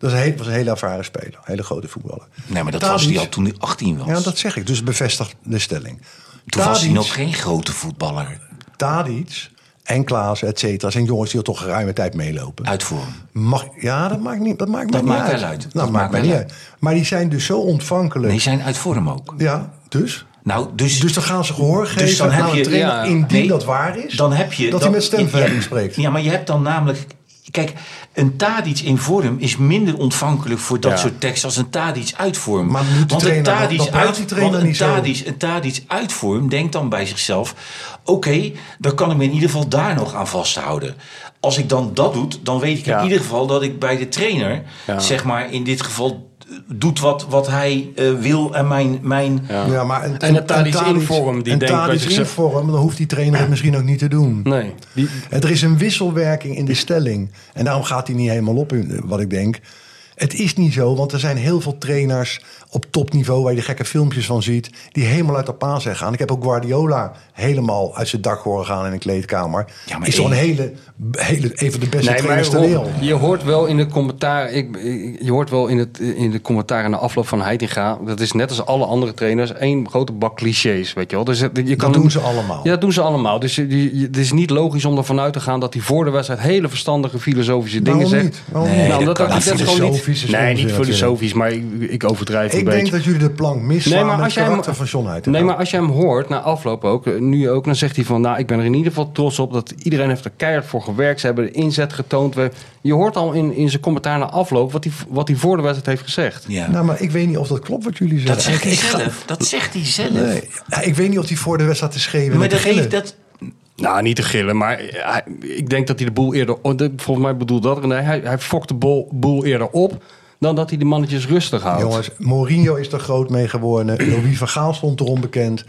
C: Dat is een heel- was een hele ervaren speler, een hele grote voetballer.
D: Nee, maar dat
C: Tadic-
D: was hij al toen hij 18 was.
C: Ja, dat zeg ik. Dus bevestig de stelling.
D: toen was hij
C: Tadic-
D: nog geen grote voetballer.
C: Tadic en Klaas, et cetera, zijn jongens die al toch geruime tijd meelopen.
D: Uitvoeren.
C: Mag, ja, dat maakt niet, dat maakt mij
D: Dat
C: niet
D: maakt
C: uit.
D: wel uit.
C: Dat,
D: Dat
C: maakt
D: maakt
C: mij
D: wel
C: niet
D: uit.
C: uit. Maar die zijn dus zo ontvankelijk.
D: Nee, zijn uit vorm ook.
C: Ja, dus?
D: Nou, dus,
C: Dus dan gaan ze gehoor geven
D: dan heb
C: aan
D: je-
C: een trainer
B: ja.
C: indien
D: Nee,
C: dat waar is.
D: dan heb je...
C: dat hij met stemverheffing
D: ja,
C: spreekt.
D: Ja, maar je hebt dan namelijk... Kijk, een Tadic in vorm is minder ontvankelijk voor dat
B: Ja.
D: soort tekst als een Tadic uit vorm.
C: Maar moet die
D: want een
C: trainer dan-
D: Tadic
C: dan praat die
D: uit,
C: trainer
D: want een
C: niet zo.
D: Tadic, een Tadic uit vorm denkt dan bij zichzelf... oké, dan kan ik me in ieder geval daar nog aan vasthouden. Als ik dan dat doe, dan weet ik
B: Ja.
D: in ieder geval dat ik bij de trainer...
B: Ja.
D: zeg maar in dit geval eh, doet wat, wat hij eh, wil en mijn... mijn
C: Ja, maar een,
B: En
C: een-
B: een Tadic in vorm, die denkt
C: een
B: bij
C: Tadic in
B: zichzelf-
C: vorm, dan hoeft die trainer het misschien ook niet te doen.
B: Nee. Die,
C: Het- Er is een wisselwerking in de stelling. En daarom gaat hij niet helemaal op, in eh, wat ik denk. Het is niet zo, want er zijn heel veel trainers op topniveau... waar je de gekke filmpjes van ziet, die helemaal uit de paan zijn gaan. Ik heb ook Guardiola helemaal uit zijn dak horen gaan in een kleedkamer.
D: Ja, maar
C: is toch een
D: ik-
C: hele, hele, een van de beste
B: Nee, maar
C: trainers ter
B: Rob,
C: wereld.
B: je hoort wel in de commentaar, ik, ik- je hoort wel in, het, in de commentaar na afloop van Heitinga, dat is net als alle andere trainers, één grote bak clichés, weet je wel. Dus het- je kan,
C: doen ze allemaal.
B: Ja, dat doen ze allemaal. Dus je- je- je- het is niet logisch om ervan uit te gaan dat hij voor de wedstrijd hele verstandige filosofische dingen
C: Waarom
B: zegt.
C: niet? Waarom
D: Nee,
C: niet?
B: Nou,
D: dat
B: omdat
D: kan
B: dat,
D: niet.
B: dat is gewoon niet,
C: filosofische
B: Nee,
C: zin
B: niet
C: natuurlijk.
B: filosofisch, maar ik, ik overdrijf een
C: Ik
B: beetje.
C: denk dat jullie de plank missen
B: Nee,
C: nee,
B: maar
C: met
B: als
C: het
B: jij hem-
C: karakter van John Heiter.
B: Nee, maar als je hem hoort, na afloop ook, eh, nu ook, dan zegt hij van... nou, ik ben er in ieder geval trots op dat iedereen heeft er keihard voor gewerkt. Ze hebben de inzet getoond. We- je hoort al in, in zijn commentaar na afloop wat hij, wat hij voor de wedstrijd heeft gezegd.
D: Ja.
C: Nou, maar ik weet niet of dat klopt wat jullie zeggen.
D: dat zegt hij zelf. Dat zegt hij zelf.
C: Nee. Ja, ik weet niet of hij voor de wedstrijd te schreeuwen en
D: Maar
C: te
D: dat heeft
C: gillen.
D: dat.
B: Nou, niet te gillen, maar eh, hij- ik denk dat hij de boel eerder... oh, de- Volgens mij bedoelt dat René. Hij, hij fokt de boel, boel eerder op dan dat hij de mannetjes rustig houdt.
C: Jongens, Mourinho is er groot mee geworden. Louis van Gaal stond er onbekend.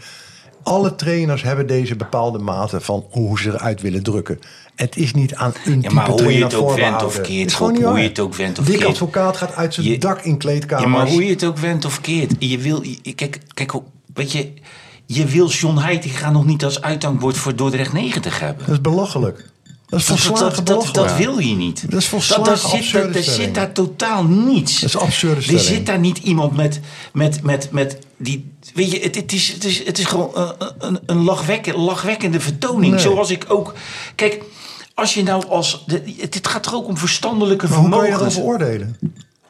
C: Alle trainers hebben deze bepaalde mate van hoe ze eruit willen drukken. Het is niet aan een
D: Ja, maar
C: type
D: hoe je
C: trainer
D: het ook went of
C: voorbehouden. Het
D: keert,
C: is gewoon
D: Rob,
C: niet
D: hoe
C: waar.
D: je het ook went of
C: Dick
D: keert.
C: advocaat gaat uit zijn
D: Je-
C: dak in
D: Ja, maar
C: kleedkamers.
D: hoe je het ook went of keert. Je wil, je- kijk, kijk, hoe- weet je, je wil John Heitinga nog niet als uithangbord voor Dordrecht 90 hebben.
C: Dat is belachelijk. Dat is
D: Dat, dat,
C: volslagen
D: dat, dat,
C: belachelijk.
D: wil je niet.
C: Dat is volslagen
D: daar zit,
C: absurde
D: daar- daar
C: stelling.
D: zit daar totaal niets.
C: Dat is een absurde
D: Er
C: stelling.
D: zit daar niet iemand met, met, met, met die... Weet je, het, het, is, het, is, het is gewoon een, een, een lachwekke- lachwekkende vertoning.
C: Nee.
D: Zoals ik ook... Kijk, als je nou als... de- Het, het gaat toch ook om verstandelijke
C: Maar hoe kan je
D: vermogens.
C: dat oordelen?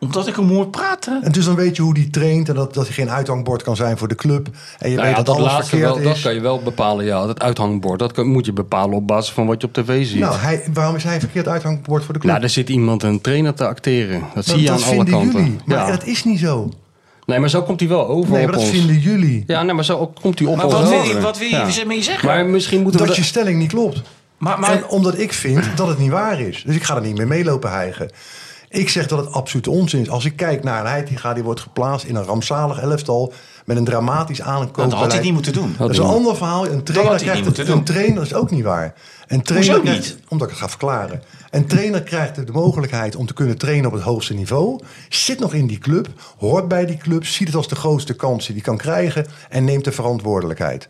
D: Omdat ik hem hoor praten.
C: En dus dan weet je hoe die traint en dat, dat hij geen uithangbord kan zijn voor de club. En je
B: Nou ja,
C: weet dat,
B: dat
C: alles
B: laatste
C: verkeerd
B: wel,
C: is.
B: dat kan je wel bepalen, ja. Dat uithangbord, dat kan- moet je bepalen op basis van wat je op tv ziet.
C: Nou, hij, waarom is hij een verkeerd uithangbord voor de club?
B: Nou, er zit iemand een trainer te acteren. Dat zie je
C: dat
B: aan alle
C: vinden
B: kanten.
C: jullie. Maar
B: ja.
C: dat is niet zo.
B: Nee, maar zo komt hij wel over
C: Nee,
B: op
C: maar dat
B: ons.
C: vinden jullie.
B: Ja, nee, maar zo komt hij op
D: Maar
B: ons
D: wat wil
B: over.
D: je, wat wil je
B: Ja.
D: ermee zeggen?
B: Maar misschien moeten we...
C: Dat je
B: da-
C: stelling niet klopt.
D: Maar- maar-
C: En omdat ik vind dat het niet waar is. Dus ik ga er niet mee meelopen hijgen. Ik zeg dat het absoluut onzin is. Als ik kijk naar een Heitinga die wordt geplaatst in een rampzalig elftal... met een dramatisch aankoopbeleid.
D: Nou, Dat had hij niet moeten doen.
C: Dat is een ander verhaal. Een trainer,
D: had hij
C: krijgt
D: niet moeten
C: het, een
D: doen.
C: trainer is ook niet waar. Een trainer
D: Hoezo
C: krijgt-
D: niet?
C: Omdat ik het ga verklaren. Een trainer krijgt de mogelijkheid om te kunnen trainen op het hoogste niveau. Zit nog in die club. Hoort bij die club. Ziet het als de grootste kans die hij kan krijgen. En neemt de verantwoordelijkheid.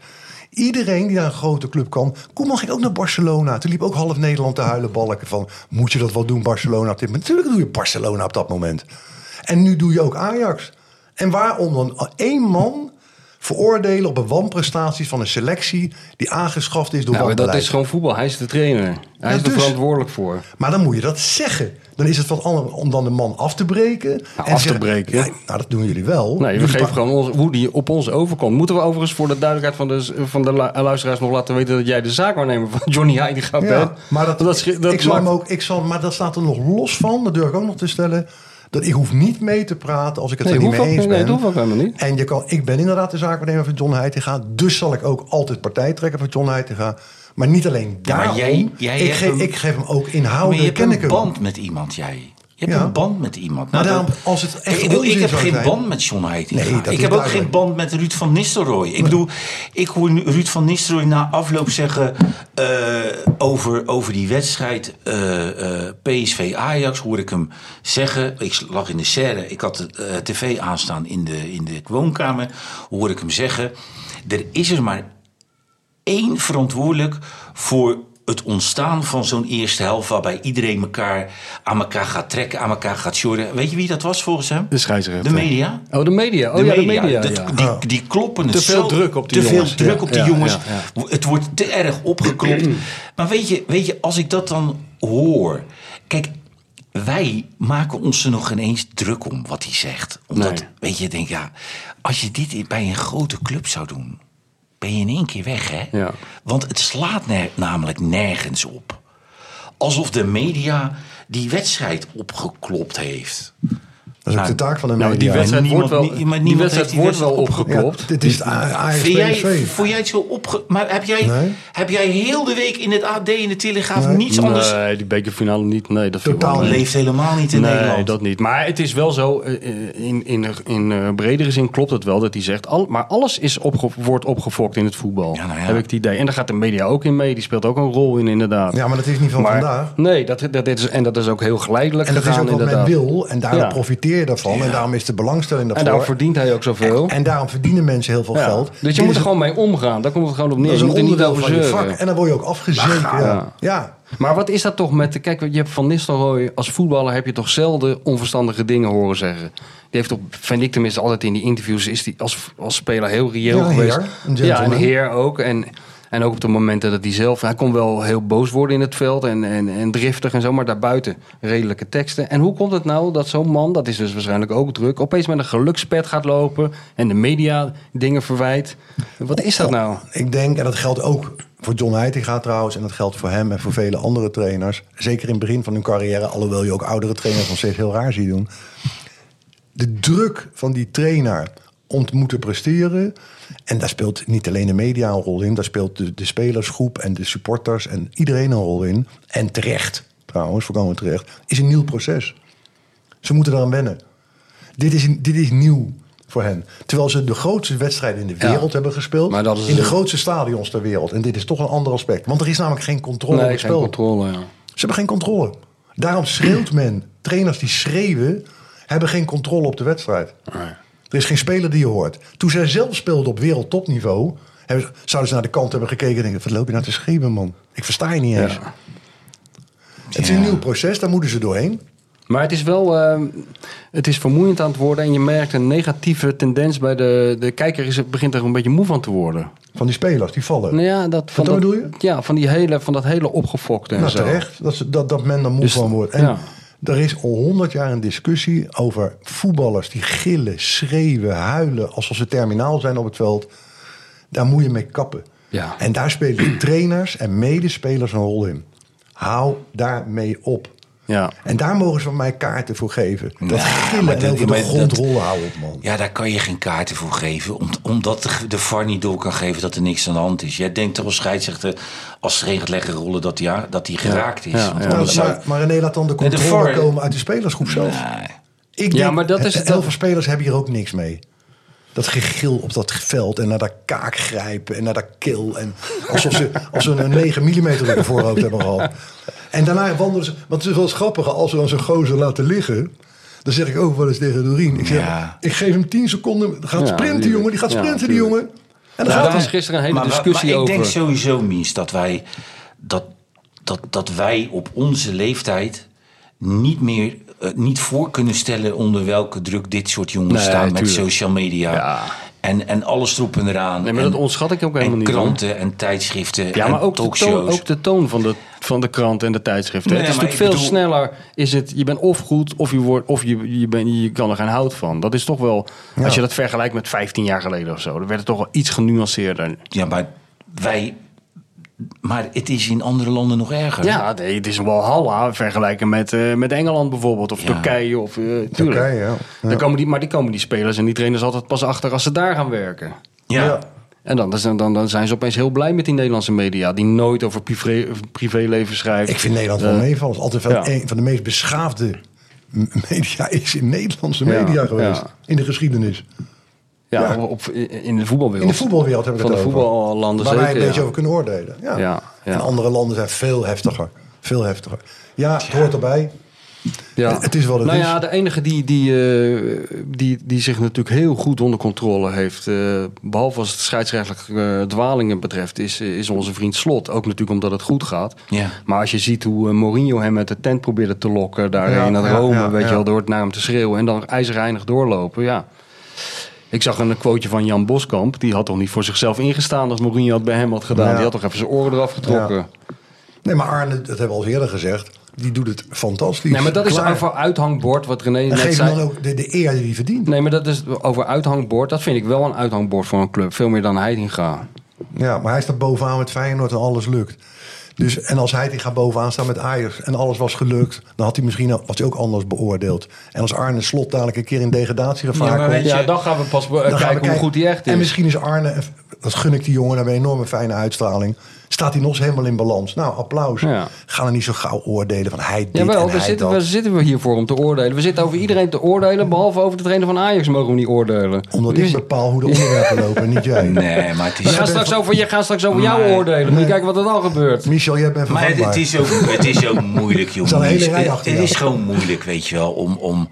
C: Iedereen die naar een grote club kan. Koeman ging ook naar Barcelona. Toen liep ook half Nederland te huilen balken van... moet je dat wel doen, Barcelona op dit moment? Natuurlijk doe je Barcelona op dat moment. En nu doe je ook Ajax. En waarom dan één man veroordelen op een wanprestaties van een selectie... die aangeschaft is door
B: Nou, dat
C: wanbeleid?
B: is gewoon voetbal. Hij is de trainer. Hij
C: Ja,
B: is er
C: dus.
B: verantwoordelijk voor.
C: Maar dan moet je dat zeggen. Dan is het wat anders om dan de man af te breken. en
B: af te
C: zeggen,
B: breken?
C: "Ja, nou, dat doen jullie wel.
B: Nee, we
C: Jullie
B: geven
C: pa-
B: gewoon ons, hoe die op ons overkomt. Moeten we overigens voor de duidelijkheid van de, van de lu- luisteraars nog laten weten... dat jij de zaakwaarnemer van Johnny Heide gaat
C: Ja, maar dat,
B: schi- dat
C: ik zal hem
B: maakt-
C: ook, ik zal, maar dat staat er nog los van. Dat durf ik ook nog te stellen. Dat ik hoef niet mee te praten als ik het
B: Nee,
C: er niet
B: hoeft
C: mee
B: ook-
C: eens
B: nee,
C: ben.
B: dat hoeft ook helemaal niet.
C: En je kan, ik ben inderdaad de zaakwaarnemer van John Heitinga. Dus zal ik ook altijd partij trekken voor John Heitinga. Maar niet alleen daarom.
D: jij- jij
C: ik,
D: hebt
C: geef,
D: hem-
C: ik geef hem ook
D: Maar je
C: inhoudelijk.
D: hebt
C: Ken ik
D: een
C: hem.
D: band met iemand, jij. Je hebt
C: Ja.
D: een band met iemand. Nou,
C: Maar
D: dat-
C: daarom, als het echt
D: ik, bedoel, ik
C: onzin
D: heb
C: zou
D: geen
C: zijn-
D: band met John Heitinga.
C: Nee, dat is
D: ik heb ook
C: duidelijk.
D: geen band met Ruud van Nistelrooy. Ik bedoel, ik hoor nu Ruud van Nistelrooy na afloop zeggen... eh, over, over die wedstrijd eh, eh, PSV-Ajax hoor ik hem zeggen... Ik lag in de serre, ik had de eh, tv aanstaan in de, in de woonkamer. Hoor ik hem zeggen... Er is er maar één verantwoordelijk voor het ontstaan van zo'n eerste helft... waarbij iedereen elkaar aan elkaar gaat trekken, aan elkaar gaat sjorren. Weet je wie dat was volgens hem?
B: De scheidsrechter.
D: De media.
B: Oh, de media. Oh
D: de
B: ja, de
D: media.
B: media.
D: Dat-
B: ja.
D: Die, die kloppen het
B: Te veel
D: zo-
B: druk op die
D: te
B: jongens.
D: Veel druk
B: Ja,
D: op die
B: ja,
D: jongens.
B: ja, Mm.
D: Het wordt te erg opgeklopt. maar weet je, weet je, als ik dat dan hoor... Kijk, wij maken ons er nog geen eens druk om wat hij zegt. Omdat,
B: Nee.
D: weet je, ik denk ja... Als je dit bij een grote club zou doen... ben je in één keer weg, hè?
B: Ja.
D: Want het slaat ner- namelijk nergens op. Alsof de media die wedstrijd opgeklopt heeft.
C: Dat is ook
D: Nou,
C: de taak van de
B: Nou, die
C: media.
B: wedstrijd
D: niemand-
B: wordt wel,
D: nie- maar
B: die
D: niemand
B: wedstrijd
D: heeft die
B: wordt wel
D: wedstrijd
C: Ja,
B: opgeklopt.
C: dit is de Ajax
D: Vind jij,
C: PSV.
D: vond jij het zo opge... Maar heb jij,
C: Nee.
D: heb jij heel de week in het AD, in de Telegraaf,
C: Nee.
D: niets anders... Oh,
B: Nee, die bekerfinale niet. Nee, dat viel
C: Totaal
B: wel mee.
D: Leeft helemaal niet in
B: Nee,
D: Nederland.
B: dat niet. Maar het is wel zo, eh, eh, in, in, in eh, bredere zin klopt het wel dat hij zegt... Al, maar alles is opge- wordt opgefokt in het voetbal,
D: Ja, nou ja.
B: heb ik het idee. En daar gaat de media ook in mee, die speelt ook een rol in inderdaad.
C: Ja, maar dat is niet van
B: Maar-
C: vandaag.
B: Nee, dat, dat, dit is, en dat is ook heel geleidelijk
C: En dat is
B: gegaan
C: ook wat
B: inderdaad.
C: men wil. En daarom
B: Ja.
C: profiteer je daarvan. En daarom is de belangstelling daarvoor.
B: En daarom verdient hij ook zoveel.
C: En daarom verdienen mensen heel veel
B: Ja.
C: geld.
B: Dus
C: Dit
B: je moet
C: is
B: er gewoon mee omgaan, daar komt het gewoon op neer.
C: dat is
B: Je
C: een
B: moet er niet
C: onderdeel
B: over
C: van je
B: zeuren.
C: vak. En dan word je ook afgezeken. Ja. ja.
B: Maar wat is dat toch met... Kijk, je hebt Van Nistelrooy als voetballer... heb je toch zelden onverstandige dingen horen zeggen. Die heeft toch, vind ik tenminste, altijd in die interviews... is die als, als speler heel reëel
C: Ja, een
B: geweest.
C: heer, een
B: ja, een
C: gentleman.
B: heer ook. En En ook op de momenten dat hij zelf... Hij kon wel heel boos worden in het veld en, en, en driftig en zo. Maar daarbuiten redelijke teksten. En hoe komt het nou dat zo'n man, dat is dus waarschijnlijk ook druk... opeens met een gelukspet gaat lopen en de media dingen verwijt. Wat is dat nou?
C: Oh. Ik denk, en dat geldt ook voor John Heitinga trouwens... en dat geldt voor hem en voor vele andere trainers. Zeker in het begin van hun carrière... alhoewel je ook oudere trainers nog steeds heel raar ziet doen. De druk van die trainer om te moeten presteren... en daar speelt niet alleen de media een rol in... daar speelt de, de spelersgroep en de supporters en iedereen een rol in. En terecht, trouwens, voorkomen terecht... is een nieuw proces. Ze moeten eraan wennen. Dit is, dit is nieuw voor hen. Terwijl ze de grootste wedstrijden in de wereld
B: Ja.
C: hebben gespeeld.
B: Maar dat is
C: in de
B: een-
C: grootste stadions ter wereld. En dit is toch een ander aspect. Want er is namelijk geen controle op
B: Nee,
C: het
B: geen
C: spel.
B: controle, ja.
C: Ze hebben geen controle. Daarom schreeuwt men. Trainers die schreeuwen, hebben geen controle op de wedstrijd. Er is geen speler die je hoort. Toen zij zelf speelden op wereldtopniveau... hebben ze- zouden ze naar de kant hebben gekeken en denken... wat loop je nou te schreeuwen, man? Ik versta je niet eens. Het is een nieuw proces, daar moeten ze doorheen.
B: Maar het is wel eh, het is vermoeiend aan het worden. En je merkt een negatieve tendens bij de, de kijker. Is, begint er een beetje moe van te worden.
C: Van die spelers, die vallen.
B: Nou ja, dat,
C: Wat
B: dat,
C: bedoel je?
B: Ja, van, die hele, van dat hele opgefokte en
C: Nou,
B: zo.
C: terecht. Dat, ze- dat, dat men er moe
B: Dus-
C: van wordt. En
B: ja.
C: er is al honderd jaar een discussie over voetballers die gillen, schreeuwen, huilen. alsof ze terminaal zijn op het veld. Daar moet je mee kappen.
B: Ja.
C: En daar spelen trainers en medespelers een rol in. Hou daarmee op.
B: Ja.
C: En daar mogen ze van mij kaarten voor geven. Dat
D: Ja, maar
C: gillen en
D: dat-
C: over
D: maar
C: de grond
D: dat-
C: rollen houden op, man.
D: Ja, daar kan je geen kaarten voor geven. om- Omdat de- de VAR niet door kan geven dat er niks aan de hand is. Jij denkt toch als scheidsrechter, als ze regent leggen rollen, dat hij, dat hij geraakt is.
B: ja,
D: Want
B: ja.
C: Nou,
D: anders zou-
C: maar, maar René laat dan de
D: Nee, de
C: controle
D: VAR
C: komen uit de spelersgroep zelf.
D: Nee.
C: Ik
B: Ja,
C: denk,
B: maar dat is
C: heel
B: het ook.
C: veel spelers hebben hier ook niks mee. Dat gegil op dat veld en naar dat kaak grijpen en naar dat keel. En alsof ze, als ze een 9 mm op de voorhoofd hebben gehad. En daarna wandelen ze. Want het is wel eens grappiger als ze dan zo'n gozer laten liggen. Dan zeg ik ook wel eens tegen Doreen. Ik, zeg,
D: Ja.
C: ik geef hem 10 seconden. Gaat
B: Ja,
C: sprinten,
B: die-
C: jongen. Die gaat
B: ja,
C: sprinten, die
B: tuurlijk.
C: jongen. En dan
B: Nou,
C: gaat
B: daar
C: hij.
B: is gisteren een hele
D: Maar- maar-
B: discussie
D: maar,
B: over.
D: Ik denk sowieso, Mies, dat wij, dat, dat, dat wij op onze leeftijd niet meer eh, niet voor kunnen stellen onder welke druk dit soort jongens
B: Nee,
D: staan met
B: tuurlijk.
D: social media.
B: Ja.
D: En, en alle troepen eraan.
B: Nee, maar
D: en,
B: dat ontschat ik ook helemaal
D: en
B: niet, hoor.
D: kranten en tijdschriften
B: Ja,
D: en
B: maar ook de, toon,
D: talkshows.
B: ook de toon van de, van de krant en de tijdschriften.
D: Nee,
B: het is
D: maar
B: natuurlijk veel
D: ik bedoel-
B: sneller. Is het, je bent of goed of, je, wordt, of je, je, ben, je kan er geen hout van. Dat is toch wel, als je dat vergelijkt met 15 jaar geleden of zo, dan werd het toch wel iets genuanceerder.
D: Ja, maar wij... Maar het is in andere landen nog erger.
B: Ja, nee, het is een walhalla vergelijken met, eh, met Engeland bijvoorbeeld. Of
D: Ja.
B: Turkije. Of, eh, tuurlijk.
C: Turkije, ja. Ja.
B: Daar komen die, maar die komen die spelers en die trainers altijd pas achter als ze daar gaan werken.
D: Ja.
C: Ja.
B: En dan, dan, dan, dan zijn ze opeens heel blij met die Nederlandse media... die nooit over privé, privéleven schrijft.
C: Ik vind Nederland wel
B: Eh,
C: meevallen. Het is altijd wel
B: ja.
C: een van de meest beschaafde m- media is in Nederlandse
B: Ja,
C: media geweest.
B: ja.
C: In de geschiedenis.
B: Ja,
C: Ja.
B: Op, in de voetbalwereld.
C: In de voetbalwereld hebben we
B: Van
C: het
B: de
C: over.
B: voetballanden
C: Waar wij
B: zeker,
C: een beetje
B: ja.
C: over kunnen oordelen. Ja.
B: Ja, ja.
C: En andere landen zijn veel heftiger. Veel heftiger. Ja, het hoort erbij.
B: Ja.
C: Het is wat het
B: nou
C: is.
B: ja, de enige die, die, eh, die, die zich natuurlijk heel goed onder controle heeft... eh, behalve als het scheidsrechtelijke eh, dwalingen betreft... Is, eh, is onze vriend Slot. Ook natuurlijk omdat het goed gaat.
D: Ja.
B: Maar als je ziet hoe eh, Mourinho hem uit de tent probeerde te lokken... daarheen
C: Ja,
B: naar
C: ja,
B: Rome,
C: ja,
B: weet
C: ja.
B: je wel, door het naar hem te schreeuwen... en dan ijzerreinig doorlopen, ja... Ik zag een quoteje van Jan Boskamp. Die had toch niet voor zichzelf ingestaan als Mourinho het bij hem had gedaan.
C: Ja.
B: Die had toch even zijn oren eraf getrokken.
C: Ja. Nee, maar Arne, dat hebben we al eerder gezegd. Die doet het fantastisch.
B: Nee, maar dat is
C: Klaar.
B: over uithangbord, wat René
C: En
B: net
C: geef hem dan
B: zei.
C: ook de, de eer die hij verdient.
B: Nee, maar dat is over uithangbord. Dat vind ik wel een uithangbord voor een club. Veel meer dan Heitinga.
C: Ja, maar hij staat bovenaan met Feyenoord en alles lukt. Dus, en als hij die gaat bovenaan staan met Ajax en alles was gelukt... dan had hij misschien ook- was hij ook anders beoordeeld. En als Arne Slot dadelijk een keer in degradatiegevaar
D: Ja, maar
C: komt...
D: weet je-
B: Ja, dan gaan we pas be-
C: Dan
B: kijken,
C: gaan
B: Eh, hoe
C: we kijken.
B: goed hij echt is.
C: En misschien is Arne, eh, dat gun ik die jongen, daar een enorme fijne uitstraling. Staat hij nog eens helemaal in balans? Nou, applaus.
B: Ja.
C: Ga er niet zo gauw oordelen van hij dit
B: Jawel,
C: en
B: daar
C: hij
B: zitten,
C: dat.
B: we, zitten we hier voor om te oordelen. We zitten over iedereen te oordelen, behalve over de trainer van Ajax mogen we niet oordelen.
C: Omdat
B: Dus-
C: ik bepaal hoe de onderwerpen lopen, niet jij.
D: Nee, maar het
B: we
D: is...
B: gaan straks over, je gaat straks over jou oordelen. Moet je kijken wat er dan gebeurt.
C: Michel, jij bent
D: Maar het,
C: vervangbaar.
D: het is ook, het is ook moeilijk, jongen.
C: een hele
D: Het-
C: rij achter
D: het
C: jou.
D: is gewoon moeilijk, weet je wel, om, om,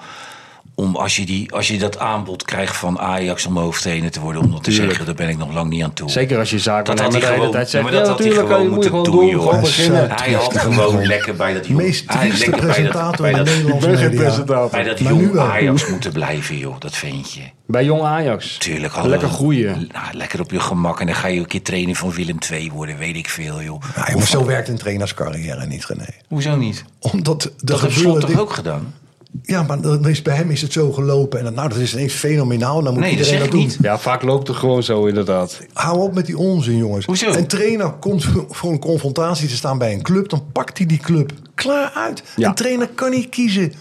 D: om als je, die, als je dat aanbod krijgt van Ajax om hoofdtrainer te worden, om dat te
B: Tuurlijk.
D: zeggen, daar ben ik nog lang niet aan toe.
B: Zeker als je zaken
D: Dat had hij
B: de hele
D: gewoon,
B: tijd
D: ja,
B: zegt.
D: maar dat
B: ja,
D: had hij
B: natuurlijk,
D: gewoon
B: je moet
D: moeten
B: je gewoon
D: doen,
B: doen,
D: joh.
B: gewoon
C: Hij
B: beginnen.
C: zei-
D: Hij had gewoon lekker bij dat jonge
C: meest
D: hij
C: trieste
D: lekker bij dat,
C: presentator
D: bij
C: in de
D: dat,
B: Ik
C: Nederlandse
B: ben geen
C: media.
D: bij
B: presentator.
D: dat
C: Maar nu
D: jonge
C: wel.
D: Ajax moeten blijven, joh, dat vind je.
B: Bij jong Ajax.
D: Tuurlijk. hadden
B: Lekker
D: we-
B: groeien.
D: Nou, lekker op je gemak. En dan ga je een keer trainer van Willem II worden, weet ik veel, joh.
C: Nee, maar Ah, zo werkt een trainerscarrière niet, René.
D: Hoezo niet?
C: Omdat er
D: Dat heeft
C: gebeuren
D: Slot toch
C: dingen-
D: ook gedaan?
C: Ja, maar dat is, bij hem is het zo gelopen. En dat, nou, dat is ineens fenomenaal. Dan moet
D: Nee, dat
C: iedereen
D: zeg
C: dat,
D: ik
C: doen.
D: niet.
B: Ja, vaak loopt het gewoon zo inderdaad.
C: Hou op met die onzin, jongens.
D: Hoezo?
C: Een trainer komt voor een confrontatie te staan bij een club. Dan pakt hij die club klaar uit.
B: Ja.
C: Een trainer kan niet kiezen.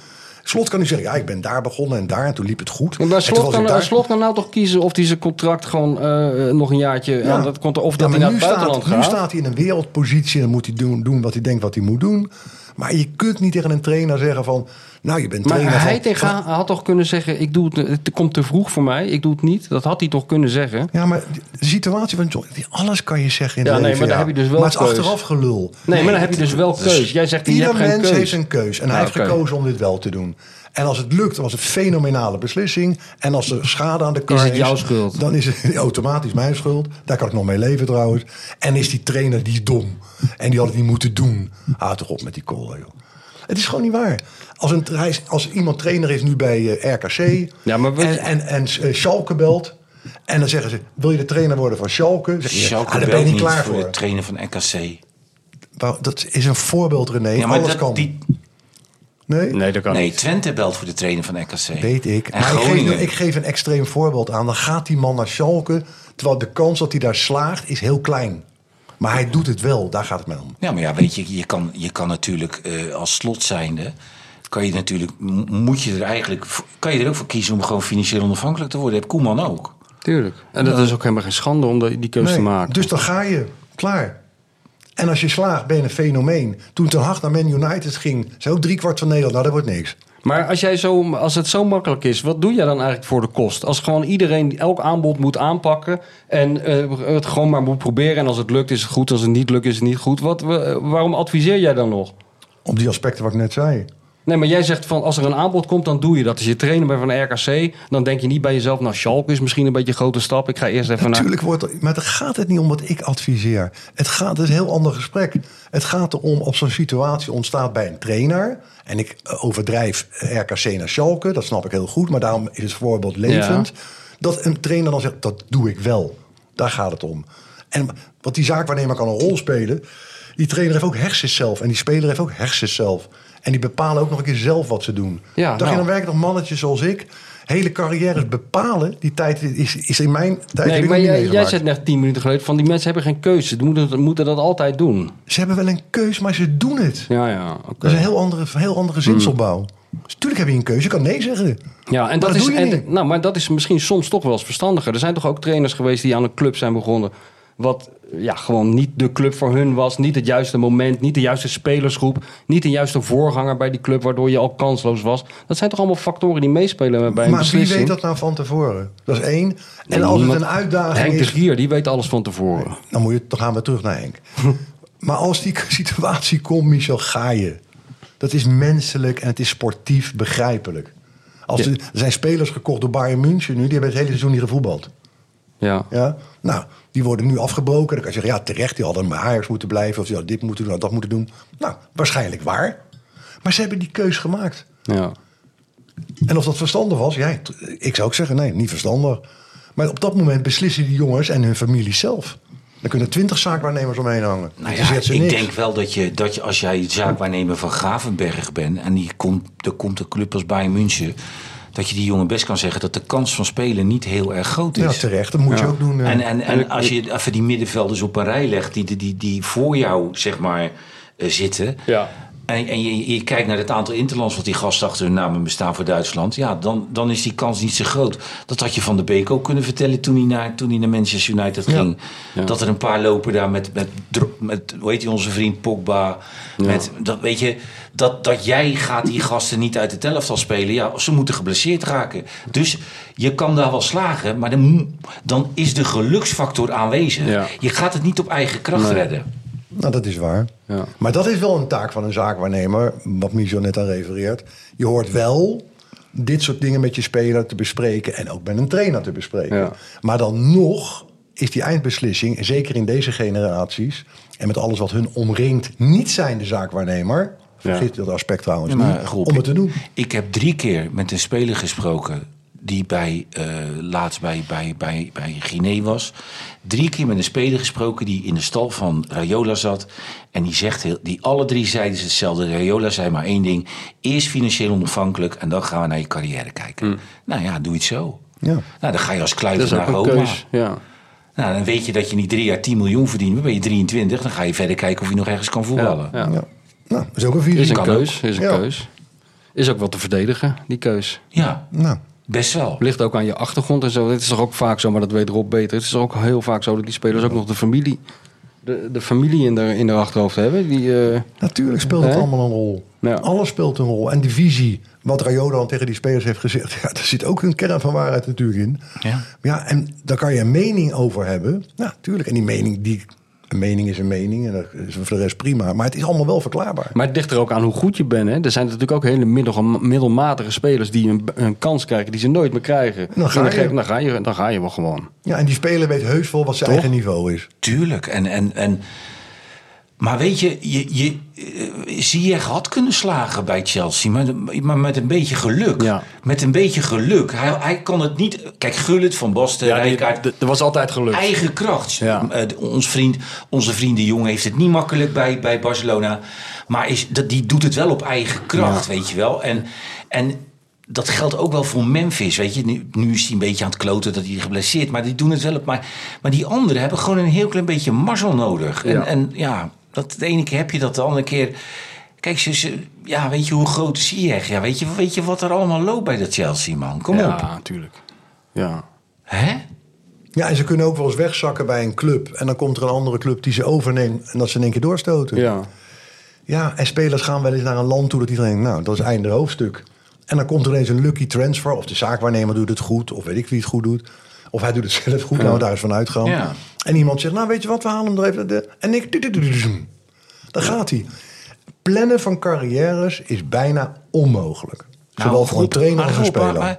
C: Slot kan nu zeggen, ja, ik ben daar begonnen en daar. En toen liep het goed.
B: Maar
C: En toen
B: Slot
C: was ik
B: kan,
C: daar.
B: Slot kan nou toch kiezen of hij zijn contract gewoon eh, nog een jaartje...
C: Ja.
B: aan dat contract, of
C: Ja,
B: dat
C: maar
B: hij naar het
C: nu
B: buitenland
C: staat,
B: gaat.
C: Nu staat hij in een wereldpositie en dan moet hij doen, doen wat hij denkt wat hij moet doen. Maar je kunt niet tegen een trainer zeggen van... Nou, je bent trainer
B: maar hij
C: van-
B: tegen haar had toch kunnen zeggen... Ik doe het, het komt te vroeg voor mij, ik doe het niet. Dat had hij toch kunnen zeggen?
C: Ja, maar de situatie van John, die- alles kan je zeggen in
B: Ja,
C: het
B: nee,
C: leven.
B: maar daar heb je dus wel
C: Maar het is
B: keus.
C: achteraf gelul.
B: Nee, maar dan heb je dus wel keus. Jij zegt, je
C: Ieder
B: hebt geen
C: mens
B: keus.
C: heeft een keus. En hij
B: Ja,
C: heeft
B: oké.
C: gekozen om dit wel te doen. En als het lukt, dan was het een fenomenale beslissing. En als er schade aan de kar
B: Is het jouw schuld?
C: Dan is het automatisch mijn schuld. Daar kan ik nog mee leven trouwens. En is die trainer die is dom. En die had het niet moeten doen. Houd toch op met die kolen, joh. Het is gewoon niet waar. Als, een, hij is- als iemand trainer is nu bij eh, RKC
B: Ja, maar wat-
C: en, en, en eh, Schalke belt... En dan zeggen ze, wil je de trainer worden van Schalke? Dan Zeg je,
D: Schalke
C: ah, daar ben
D: belt
C: je niet
D: niet
C: klaar
D: voor
C: voor.
D: de trainer van NKC.
C: Wou- Dat is een voorbeeld, René.
D: Ja, maar
C: Alles
D: dat,
C: kan.
D: die,
C: Nee?
B: Nee, dat kan
D: nee,
B: niet.
D: Twente belt voor de trainer van NKC.
C: Weet ik.
D: En
C: Maar ik
D: Groningen.
C: geef, ik geef een extreem voorbeeld aan. Dan gaat die man naar Schalke. Terwijl de kans dat hij daar slaagt is heel klein. Maar hij doet het wel. Daar gaat het mij om.
D: Ja, maar ja, weet je, je kan, je kan natuurlijk eh, als slot zijnde. Kan je natuurlijk, m- moet je er eigenlijk, kan je er ook voor kiezen om gewoon financieel onafhankelijk te worden? Heb Koeman ook.
B: Tuurlijk. En dat is ook helemaal geen schande om die die keus te
C: Nee,
B: maken.
C: Dus dan ga je. Klaar. En als je slaagt, ben je een fenomeen. Toen Ten Hag naar Man United ging, zei ook driekwart van Nederland. Nou, dat wordt niks.
B: Maar als, jij zo, als het zo makkelijk is, wat doe jij dan eigenlijk voor de kost? Als gewoon iedereen elk aanbod moet aanpakken en eh, het gewoon maar moet proberen. En als het lukt is het goed, als het niet lukt is het niet goed. Wat, we- waarom adviseer jij dan nog?
C: Op die aspecten wat ik net zei.
B: Nee, maar jij zegt van als er een aanbod komt, dan doe je dat. Als je trainer bent van de RKC, dan denk je niet bij jezelf... nou, Schalke is misschien een beetje een grote stap. Ik ga eerst even naar...
C: Natuurlijk wordt er, maar daar gaat het niet om wat ik adviseer. Het gaat, het is een heel ander gesprek. Het gaat erom of zo'n situatie ontstaat bij een trainer. En ik eh, overdrijf eh, RKC naar Schalke, dat snap ik heel goed. Maar daarom is het voorbeeld levend. Dat een trainer dan zegt, dat doe ik wel. Daar gaat het om. En wat die zaakwaarnemer kan een rol spelen. Die trainer heeft ook hersens zelf. En die speler heeft ook hersens zelf. En die bepalen ook nog een keer zelf wat ze doen.
B: Ja,
C: Dacht
B: nou.
C: je, dan werken nog mannetjes zoals ik. Hele carrières bepalen. Die tijd is, is in mijn tijd heb
B: Nee, maar
C: ik nog niet
B: jij, jij
C: meegemaakt.
B: zei net tien minuten geleden van die mensen hebben geen keuze. Ze moeten, moeten dat altijd doen.
C: Ze hebben wel een keus, maar ze doen het.
B: Ja, ja, oké.
C: Dat is een heel andere, heel andere zinsopbouw. Dus tuurlijk heb je een keuze, je kan nee zeggen.
B: Ja, en
C: Maar
B: dat,
C: dat
B: is,
C: doe je
B: en,
C: niet.
B: nou, maar dat is misschien soms toch wel eens verstandiger. Er zijn toch ook trainers geweest die aan een club zijn begonnen. Wat ja, gewoon niet de club voor hun was. Niet het juiste moment. Niet de juiste spelersgroep. Niet de juiste voorganger bij die club. Waardoor je al kansloos was. Dat zijn toch allemaal factoren die meespelen bij een
C: maar wie
B: beslissing.
C: weet dat nou van tevoren? Dat is één. en als
B: niemand-
C: het een uitdaging
B: Henk dus- de
C: is,
B: Gier, die weet alles van tevoren.
C: dan, moet je, dan gaan we terug naar Henk. maar als die situatie komt, Michel, ga je. Dat is menselijk en het is sportief begrijpelijk. Als er, er zijn spelers gekocht door Bayern München nu, die hebben het hele seizoen niet gevoetbald.
B: Ja.
C: Ja? Nou, die worden nu afgebroken. Dan kan je zeggen, ja, terecht, die hadden maar Ajax moeten blijven... of die hadden dit moeten doen, of dat moeten doen. Nou, waarschijnlijk waar. Maar ze hebben die keus gemaakt.
B: ja.
C: En of dat verstandig was, ja, t- ik zou ook zeggen, nee, niet verstandig. Maar op dat moment beslissen die jongens en hun familie zelf. Dan kunnen twintig zaakwaarnemers omheen hangen.
D: Nou
C: Dat
D: ja,
C: zegt ze
D: ik
C: niks.
D: denk wel dat je, dat je als jij zaakwaarnemer van Gravenberg bent en die komt, er komt een club als Bayern München, dat je die jongen best kan zeggen dat de kans van spelen niet heel erg groot is.
C: Ja, terecht, dat moet je ook doen. eh.
D: En, en, en als je even die middenvelders op een rij legt, die, die, die, die voor jou zeg maar eh, zitten.
B: Ja.
D: En, en je, je kijkt naar het aantal interlands wat die gasten achter hun namen bestaan voor Duitsland. Ja, dan, dan is die kans niet zo groot. Dat had je Van de Beek ook kunnen vertellen toen hij naar, toen hij naar Manchester United ging. Dat er een paar lopen daar met, met, dro- met hoe heet die onze vriend Pogba. Met, dat, weet je, dat, dat jij gaat die gasten niet uit het elftal spelen. Ja, ze moeten geblesseerd raken. Dus je kan daar wel slagen, maar dan, moet- dan is de geluksfactor aanwezig.
B: Ja.
D: Je gaat het niet op eigen kracht redden.
C: Nou, dat is waar.
B: Ja.
C: Maar dat is wel een taak van een zaakwaarnemer, wat Michel net aan refereert. Je hoort wel dit soort dingen met je speler te bespreken en ook met een trainer te bespreken.
B: Ja.
C: Maar dan nog is die eindbeslissing, zeker in deze generaties en met alles wat hun omringt, niet zijn de zaakwaarnemer. Vergeet dat aspect trouwens
D: Maar,
C: niet,
D: Rob,
C: Hmm? om het te doen.
D: Ik heb drie keer met een speler gesproken die bij, eh, laatst bij, bij, bij, bij Guinea was. Drie keer met een speler gesproken die in de stal van Rayola zat. En die zegt, heel, die alle drie zeiden ze hetzelfde. Rayola zei maar één ding. Eerst financieel onafhankelijk en dan gaan we naar je carrière kijken. Nou ja, doe het zo.
C: Ja.
D: Nou, dan ga je als
B: Hmm. Dat
D: kluiver
B: is
D: naar
B: ook een
D: Roma.
B: keus. Ja.
D: Nou, dan weet je dat je niet drie jaar 10 miljoen verdient. Maar ben je 23, dan ga je verder kijken of je nog ergens kan voetballen.
B: Ja.
C: Ja. Nou, dat is ook een
B: Is
C: visie.
B: een
D: kan
B: keus. Is een
C: Ja.
B: keus. Is ook wat te verdedigen, die keus.
D: ja
C: Nou,
D: best wel.
B: Ligt ook aan je achtergrond en zo. Het is toch ook vaak zo, maar dat weet Rob beter. Het is toch ook heel vaak zo dat die spelers ook nog de familie, de, de familie in de, in de achterhoofd hebben. Die, eh,
C: natuurlijk speelt het
B: Hè?
C: allemaal een rol.
B: Ja.
C: Alles speelt een rol. En die visie, wat Rayo dan tegen die spelers heeft gezegd, ja, daar zit ook een kern van waarheid natuurlijk in.
D: Ja.
C: Ja, en daar kan je een mening over hebben. Ja, tuurlijk. En die mening, die, een mening is een mening. En dat is voor de rest prima. Maar het is allemaal wel verklaarbaar.
B: maar het ligt er ook aan hoe goed je bent. Hè? Er zijn natuurlijk ook hele middel, middelmatige spelers die een, een kans krijgen die ze nooit meer krijgen.
C: Dan ga
B: En
C: je.
B: ge- dan ga je. Dan ga je wel gewoon.
C: Ja, en die speler weet heus wel wat zijn
B: Toch?
C: eigen niveau is.
D: Tuurlijk. En, en, en, maar weet je, je, je eh, Ziyech had kunnen slagen bij Chelsea. Maar, maar met een beetje geluk.
B: Ja.
D: Met een beetje geluk. Hij, hij kan het niet... Kijk, Gullit, Van Basten, Rijkaard...
B: er was altijd geluk.
D: Eigen kracht.
B: Ja.
D: Eh, ons vriend, onze vriend de Jong heeft het niet makkelijk bij, bij Barcelona. Maar is, dat, die doet het wel op eigen kracht, weet je wel. En, en dat geldt ook wel voor Memphis, weet je. Nu, nu is hij een beetje aan het kloten dat hij geblesseerd Maar die doen het wel op... Maar, maar die anderen hebben gewoon een heel klein beetje mazzel nodig. En
B: Ja.
D: ja, en, ja dat, de ene keer heb je dat, de andere keer... Kijk, ze, ze- ja, weet je hoe groot is Ziyech? Ja, weet je, weet je wat er allemaal loopt bij dat Chelsea, man? Kom op.
B: Ja, natuurlijk. Ja.
D: Hè?
C: Ja, en ze kunnen ook wel eens wegzakken bij een club. En dan komt er een andere club die ze overneemt. En dat ze in één keer doorstoten.
B: Ja.
C: Ja, en spelers gaan wel eens naar een land toe dat iedereen denkt, nou, dat is einde hoofdstuk. En dan komt er ineens een lucky transfer. Of de zaakwaarnemer doet het goed, of weet ik wie het goed doet. Of hij doet het zelf goed, nou daar is van uitgaan.
D: Ja.
C: En iemand zegt, nou weet je wat, we halen hem er even. De, en ik, daar gaat hij. Plannen van carrières is bijna onmogelijk. Zowel
D: Nou,
C: voor een
D: goed,
C: trainer
D: maar
C: als een
D: goed, maar-
C: speler.
D: maar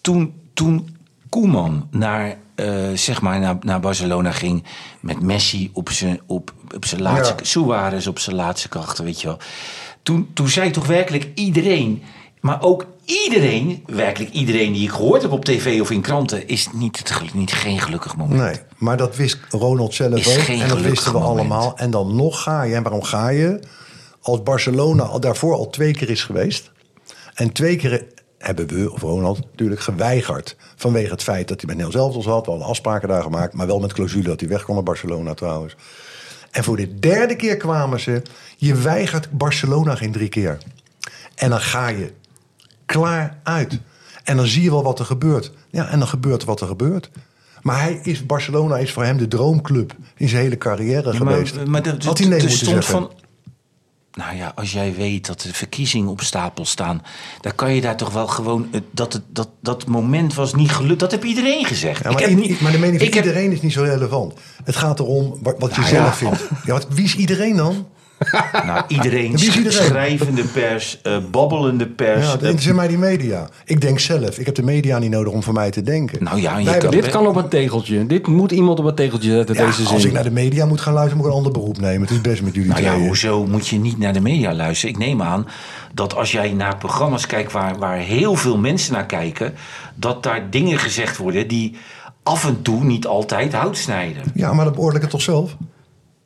D: toen, toen Koeman naar, eh, zeg maar naar, naar Barcelona ging met Messi op zijn op, op zijn laatste...
C: Ja.
D: Suarez op zijn laatste krachten, weet je wel. Toen, toen zei toch werkelijk iedereen, maar ook iedereen... werkelijk iedereen die ik gehoord heb op tv of in kranten... is niet, het, gel- niet geen gelukkig moment.
C: Nee, maar dat wist Ronald zelf
D: Is
C: ook.
D: geen
C: En dat
D: gelukkig
C: wisten we
D: moment.
C: allemaal. En dan nog ga je. En waarom ga je? Als Barcelona al daarvoor al twee keer is geweest. En twee keer hebben we, of Ronald, natuurlijk geweigerd. Vanwege het feit dat hij met Neil zelf had. We hadden afspraken daar gemaakt. Maar wel met clausule dat hij weg kon naar Barcelona trouwens. En voor de derde keer kwamen ze. Je weigert Barcelona geen drie keer. En dan ga je klaar uit. En dan zie je wel wat er gebeurt. Ja, en dan gebeurt wat er gebeurt. Maar hij is, Barcelona is voor hem de droomclub in zijn hele carrière
D: Ja,
C: geweest.
D: maar dat,
C: Had hij nee
D: er
C: moeten
D: stond
C: zeggen.
D: van. Nou ja, als jij weet dat de verkiezingen op stapel staan, dan kan je daar toch wel gewoon. eh, Dat, het, dat, dat moment was niet gelukt. Dat heb iedereen gezegd.
C: Ja, maar,
D: ik heb
C: i-
D: niet,
C: maar de mening van
D: ik heb-
C: iedereen is niet zo relevant. Het gaat erom wa- wat je zelf vindt. Ja, wat, wie is iedereen dan?
D: nou, iedereen,
C: Wie is iedereen?
D: Schrijvende pers, eh, babbelende pers.
C: Ja,
D: eh,
C: dat interesseert mij die media. Ik denk zelf. Ik heb de media niet nodig om voor mij te denken.
D: nou ja, en je
C: Wij
D: kan,
B: Dit kan op een tegeltje. Dit moet iemand op een tegeltje zetten,
C: Ja,
B: deze zin.
C: als ik naar de media moet gaan luisteren, moet ik een ander beroep nemen. Het is best met jullie
D: Nou ja,
C: tweeën.
D: hoezo moet je niet naar de media luisteren? Ik neem aan dat als jij naar programma's kijkt waar, waar heel veel mensen naar kijken, dat daar dingen gezegd worden die af en toe niet altijd hout snijden.
C: Ja, maar dat beoordeel ik het toch zelf?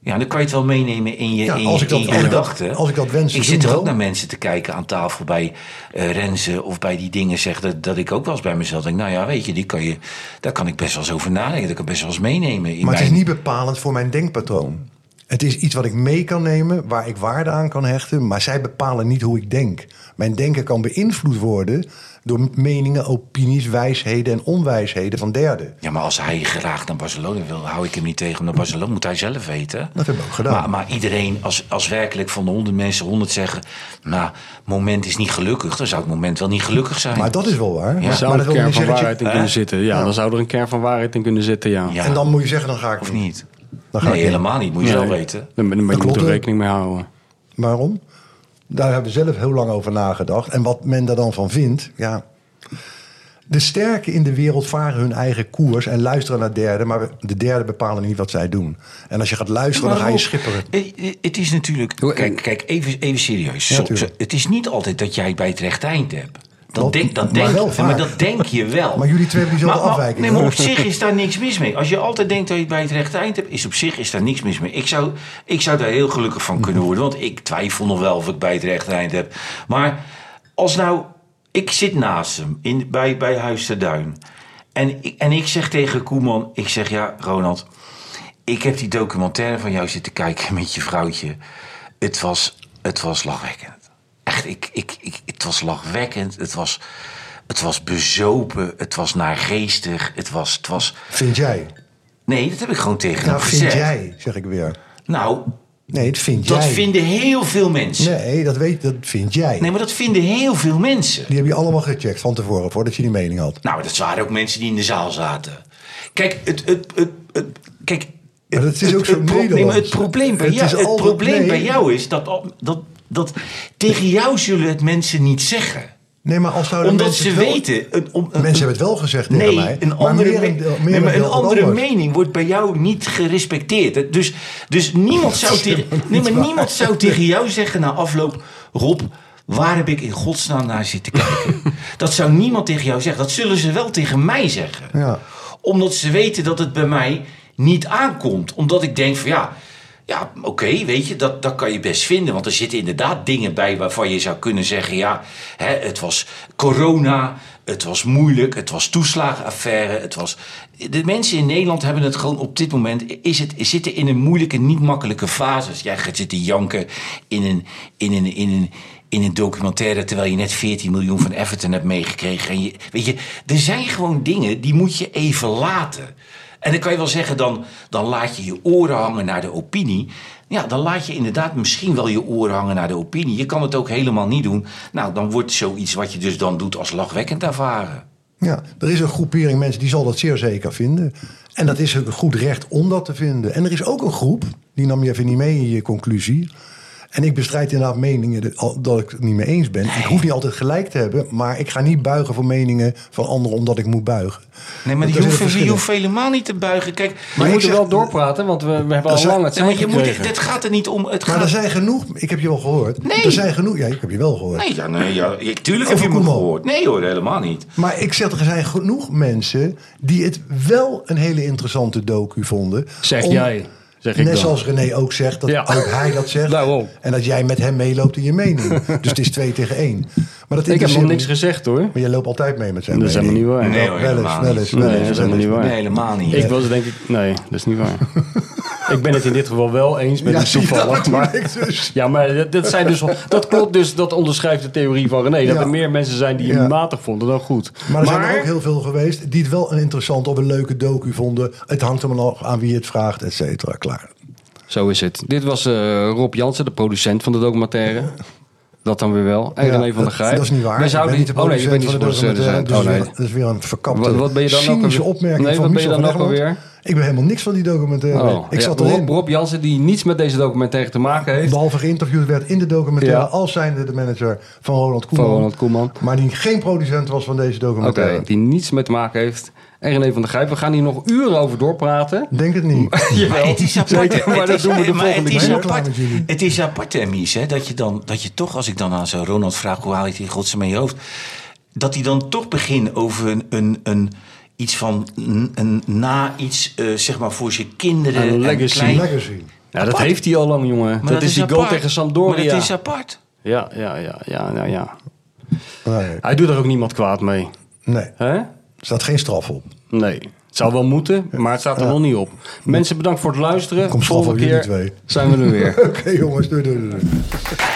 D: Ja, dan kan je het wel meenemen in je,
C: Ja,
D: in,
C: als ik dat-
D: in je
C: als ik dat-
D: gedachten.
C: als ik dat wens te
D: Ik
C: doen
D: zit er
C: wel.
D: ook naar mensen te kijken aan tafel bij eh Renze of bij die dingen zeg dat, dat ik ook wel eens bij mezelf denk. Nou ja, weet je, die kan je, daar kan ik best wel eens over nadenken. Dat kan ik best wel eens meenemen. In
C: Maar het
D: mijn,
C: is niet bepalend voor mijn denkpatroon. Het is iets wat ik mee kan nemen, waar ik waarde aan kan hechten, maar zij bepalen niet hoe ik denk. Mijn denken kan beïnvloed worden door meningen, opinies, wijsheden en onwijsheden van derden.
D: Ja, maar als hij graag naar Barcelona wil, hou ik hem niet tegen om naar Barcelona. Moet hij zelf weten.
C: Dat hebben we ook gedaan.
D: Maar, maar iedereen, als, als werkelijk van de honderd mensen honderd zeggen... nou, moment is niet gelukkig, dan zou het moment wel niet gelukkig zijn.
C: Maar dat is wel waar.
D: Ja.
B: Er zou
C: maar
B: een
C: dat wil
B: kern
C: niet
B: van
C: zeggen dat
B: waarheid
C: je-
B: in
D: Hè?
B: kunnen zitten. Ja,
C: Ja.
B: dan zou er een kern van waarheid in kunnen zitten, ja.
D: Ja,
C: En dan moet je zeggen, dan ga ik
D: of
C: niet.
D: niet?
C: Dan ga
D: Nee,
C: ik niet.
D: helemaal niet. Moet je
B: Nee.
D: zelf weten.
B: Dan, dan, moet je
C: klopt,
B: er
C: hè?
B: rekening mee houden.
C: Waarom? Daar hebben we zelf heel lang over nagedacht. En wat men daar dan van vindt, ja, De sterken in de wereld varen hun eigen koers en luisteren naar derden, maar de derden bepalen niet wat zij doen. En als je gaat luisteren, dan ga je
D: Rob,
C: schipperen.
D: eh, eh, Het is natuurlijk.
C: Hoe-
D: Kijk, kijk even, even serieus. Zo-
C: tuurlijk.
D: zo- het is niet altijd dat jij het bij het rechte eind hebt. Dat
C: Wel,
D: denk, dat
C: maar
D: denk,
C: wel
D: nee,
C: vaak.
D: maar dat denk je wel.
C: Maar jullie twee hebben diezelfde
D: Maar- maar-
C: afwijking,
D: Nee, maar
C: hè?
D: op zich is daar niks mis mee. Als je altijd denkt dat je het bij het rechte eind hebt, is op zich is daar niks mis mee. Ik zou, ik zou daar heel gelukkig van kunnen worden, want ik twijfel nog wel of ik bij het rechte eind heb. Maar als nou, ik zit naast hem in, bij, bij Huis ter Duin. En ik, en ik zeg tegen Koeman, ik zeg ja, Ronald, ik heb die documentaire van jou zitten kijken met je vrouwtje. Het was, het was lachwekkend. Echt, ik, ik, ik, het was lachwekkend. Het was, het was bezopen. Het was naargeestig. Het was, het was...
C: Vind jij?
D: Nee, dat heb ik gewoon tegen
C: Nou,
D: hem
C: vind
D: gezegd.
C: jij, zeg ik weer.
D: Nou,
C: Nee, dat vind
D: dat
C: jij.
D: vinden heel veel mensen. Nee.
C: Nee, dat, weet, dat vind jij.
D: maar dat vinden heel veel mensen.
C: Die heb je allemaal gecheckt van tevoren, voordat je die mening had.
D: Nou, dat waren ook mensen die in de zaal zaten. Kijk, het... het, het, het- kijk,
C: Maar dat is ook zo
D: het, pro- nee, maar
C: Nederlands.
D: het probleem bij,
C: Het
D: jou,
C: is
D: het
C: altijd-
D: probleem
C: nee.
D: bij jou is dat, al- dat, dat tegen jou zullen het mensen niet zeggen.
C: Nee, maar als zouden
D: Omdat
C: mensen
D: ze
C: het wel-
D: weten... een- om- een-
C: Mensen hebben het wel gezegd tegen
D: Nee,
C: mij.
D: een
C: maar
D: andere, me-
C: merendeel-
D: nee,
C: merendeel
D: maar een
C: wat
D: andere
C: anders.
D: mening wordt bij jou niet gerespecteerd. Dus, dus niemand, zou tegen, nee, maar niemand zou tegen jou zeggen na afloop... Rob, waar heb ik in godsnaam naar zitten kijken? dat zou niemand tegen jou zeggen. Dat zullen ze wel tegen mij zeggen.
C: Ja.
D: Omdat ze weten dat het bij mij niet aankomt. Omdat ik denk van ja... Ja, oké, weet je, dat, dat kan je best vinden. Want er zitten inderdaad dingen bij waarvan je zou kunnen zeggen... ja, hè, het was corona, het was moeilijk, het was toeslagenaffaire, het was... De mensen in Nederland hebben het gewoon op dit moment... Is het, zitten in een moeilijke, niet makkelijke fase. Dus Jij gaat zitten janken in een, in, een, in, een, in een documentaire... terwijl je net 14 miljoen van Everton hebt meegekregen. En je, weet je, er zijn gewoon dingen die moet je even laten... En dan kan je wel zeggen, dan, dan laat je je oren hangen naar de opinie. Ja, dan laat je inderdaad misschien wel je oren hangen naar de opinie. Je kan het ook helemaal niet doen. Nou, dan wordt zoiets wat je dus dan doet als lachwekkend ervaren.
C: Ja, er is een groepering mensen die zal dat zeer zeker vinden. En dat is een goed recht om dat te vinden. En er is ook een groep, die nam je even niet mee in je conclusie. En ik bestrijd inderdaad meningen dat- al- dat ik het niet mee eens ben. Ik hoef niet altijd gelijk te hebben, maar ik ga niet buigen voor meningen van anderen omdat ik moet buigen.
D: Nee, maar
C: Dat
D: je
C: is een
D: hoeft, je
C: verschil.
D: hoeft helemaal niet te buigen. Kijk,
B: Maar
C: ik
B: je moet er
C: zeg-
B: wel doorpraten, want we, we hebben al
C: zijn-
B: lang het
D: nee, maar
B: zijn
D: je moet,
B: gekregen.
D: het gaat er niet om. Het
C: Maar er
D: gaat,
C: zijn genoeg, ik heb je wel gehoord.
D: Nee.
C: Er zijn genoeg, ja, ik heb je wel gehoord.
D: nee, ja, nee ja, ik- tuurlijk heb je
C: Over
D: me
C: Koeman.
D: gehoord. Nee hoor, helemaal niet.
C: Maar ik zeg, er zijn genoeg mensen die het wel een hele interessante docu vonden.
B: Zeg
C: Om-
B: jij, zeg ik
C: Net
B: dan.
C: zoals René ook zegt, dat
B: Ja. Nou, oh.
C: ook hij dat zegt.
B: Daarom.
C: En dat jij met hem meeloopt in je mening. dus het is twee tegen één. Maar dat
B: Ik heb nog
C: interesseert
B: niks
C: me-
B: gezegd hoor.
C: Maar jij loopt altijd mee met zijn
B: Dat is
C: mening.
B: helemaal niet waar.
D: Nee
C: wel
D: hoor,
C: eens,
D: helemaal
C: wel
D: niet.
C: eens,
B: Nee,
C: wel
B: dat
C: eens,
B: is
C: wel
B: helemaal
C: eens.
B: niet waar.
D: Nee, helemaal niet.
B: Ik was denk ik... Nee, dat is niet waar. ik ben het in dit geval wel eens met
C: Ja,
B: het
C: zie je, dat
B: toevallig.
C: bedoel
B: Maar,
C: ik dus.
B: ja, maar dat, dat zijn dus, wel- dat klopt dus, dat onderschrijft de theorie van René. Dat
C: Ja.
B: er meer mensen zijn die
C: Ja.
B: hem matig vonden dan goed.
C: Maar er zijn er ook heel veel geweest die het wel een interessante of een leuke docu vonden. Het hangt er maar nog aan wie het vraagt, et cetera. Klaar.
B: Zo is het. Dit was eh, Rob Jansen, de producent van de documentaire. Dat dan weer wel. En
C: Ja,
B: René van der
C: dat-
B: Gijp.
C: Dat is niet waar.
B: We
C: Ik
B: zouden
C: ben niet de
B: oh nee, je bent
C: producent
B: niet de
C: van de
B: producent.
C: documentaire,
B: oh, nee.
C: dus weer- Dat is weer een verkapte,
B: Wat- wat ben je dan ook
C: cynische
B: alweer?
C: opmerking
B: Nee,
C: van
B: wat ben je
C: Michel
B: dan
C: van
B: ook
C: Egmond.
B: alweer?
C: Ik ben helemaal niks van die documentaire.
B: Oh,
C: ik
B: ja,
C: zat erin.
B: Rob, Rob Jansen, die niets met deze documentaire te maken heeft.
C: Behalve geïnterviewd werd in de documentaire
B: Ja.
C: als zijnde de manager van Ronald Koeman.
B: Van Ronald Koeman.
C: Maar die geen producent was van deze
B: Oké,
C: documentaire.
B: die niets mee te maken heeft. En René van der Gijp. We gaan hier nog uren over doorpraten.
C: Denk het niet.
D: Maar het is apart.
B: Zeker, maar
D: het
B: dat
D: is-
B: doen we de
D: maar
B: volgende
D: het is
C: keer.
D: apart,
C: Klaar met jullie.
D: het is apart, hè, Mies, hè, dat, je dan, dat je toch, als ik dan aan zo'n Ronald vraag... hoe haal je het in godsnaam in je hoofd? Dat hij dan toch begint over een... een, een iets van een, een na iets, eh, zeg maar, voor zijn kinderen.
B: Een
D: en
B: legacy.
D: klein-
C: Legacy.
B: Ja, dat
D: Apart.
B: heeft hij al lang, jongen.
D: Maar
B: Dat, is die goal
D: apart.
B: tegen Sampdoria.
D: Maar dat is apart.
B: Ja, ja, ja, ja, ja, ja.
C: Nee,
B: Hij doet er ook niemand kwaad mee.
C: nee, er
B: Hè?
C: staat geen straf op.
B: Nee. Het zou wel moeten, maar het staat er nog niet op. Mensen, bedankt voor het luisteren.
C: Kom straf op
B: Volgende
C: jullie
B: keer
C: twee.
B: zijn we er weer.
C: Oké jongens, doei doei doei. doei.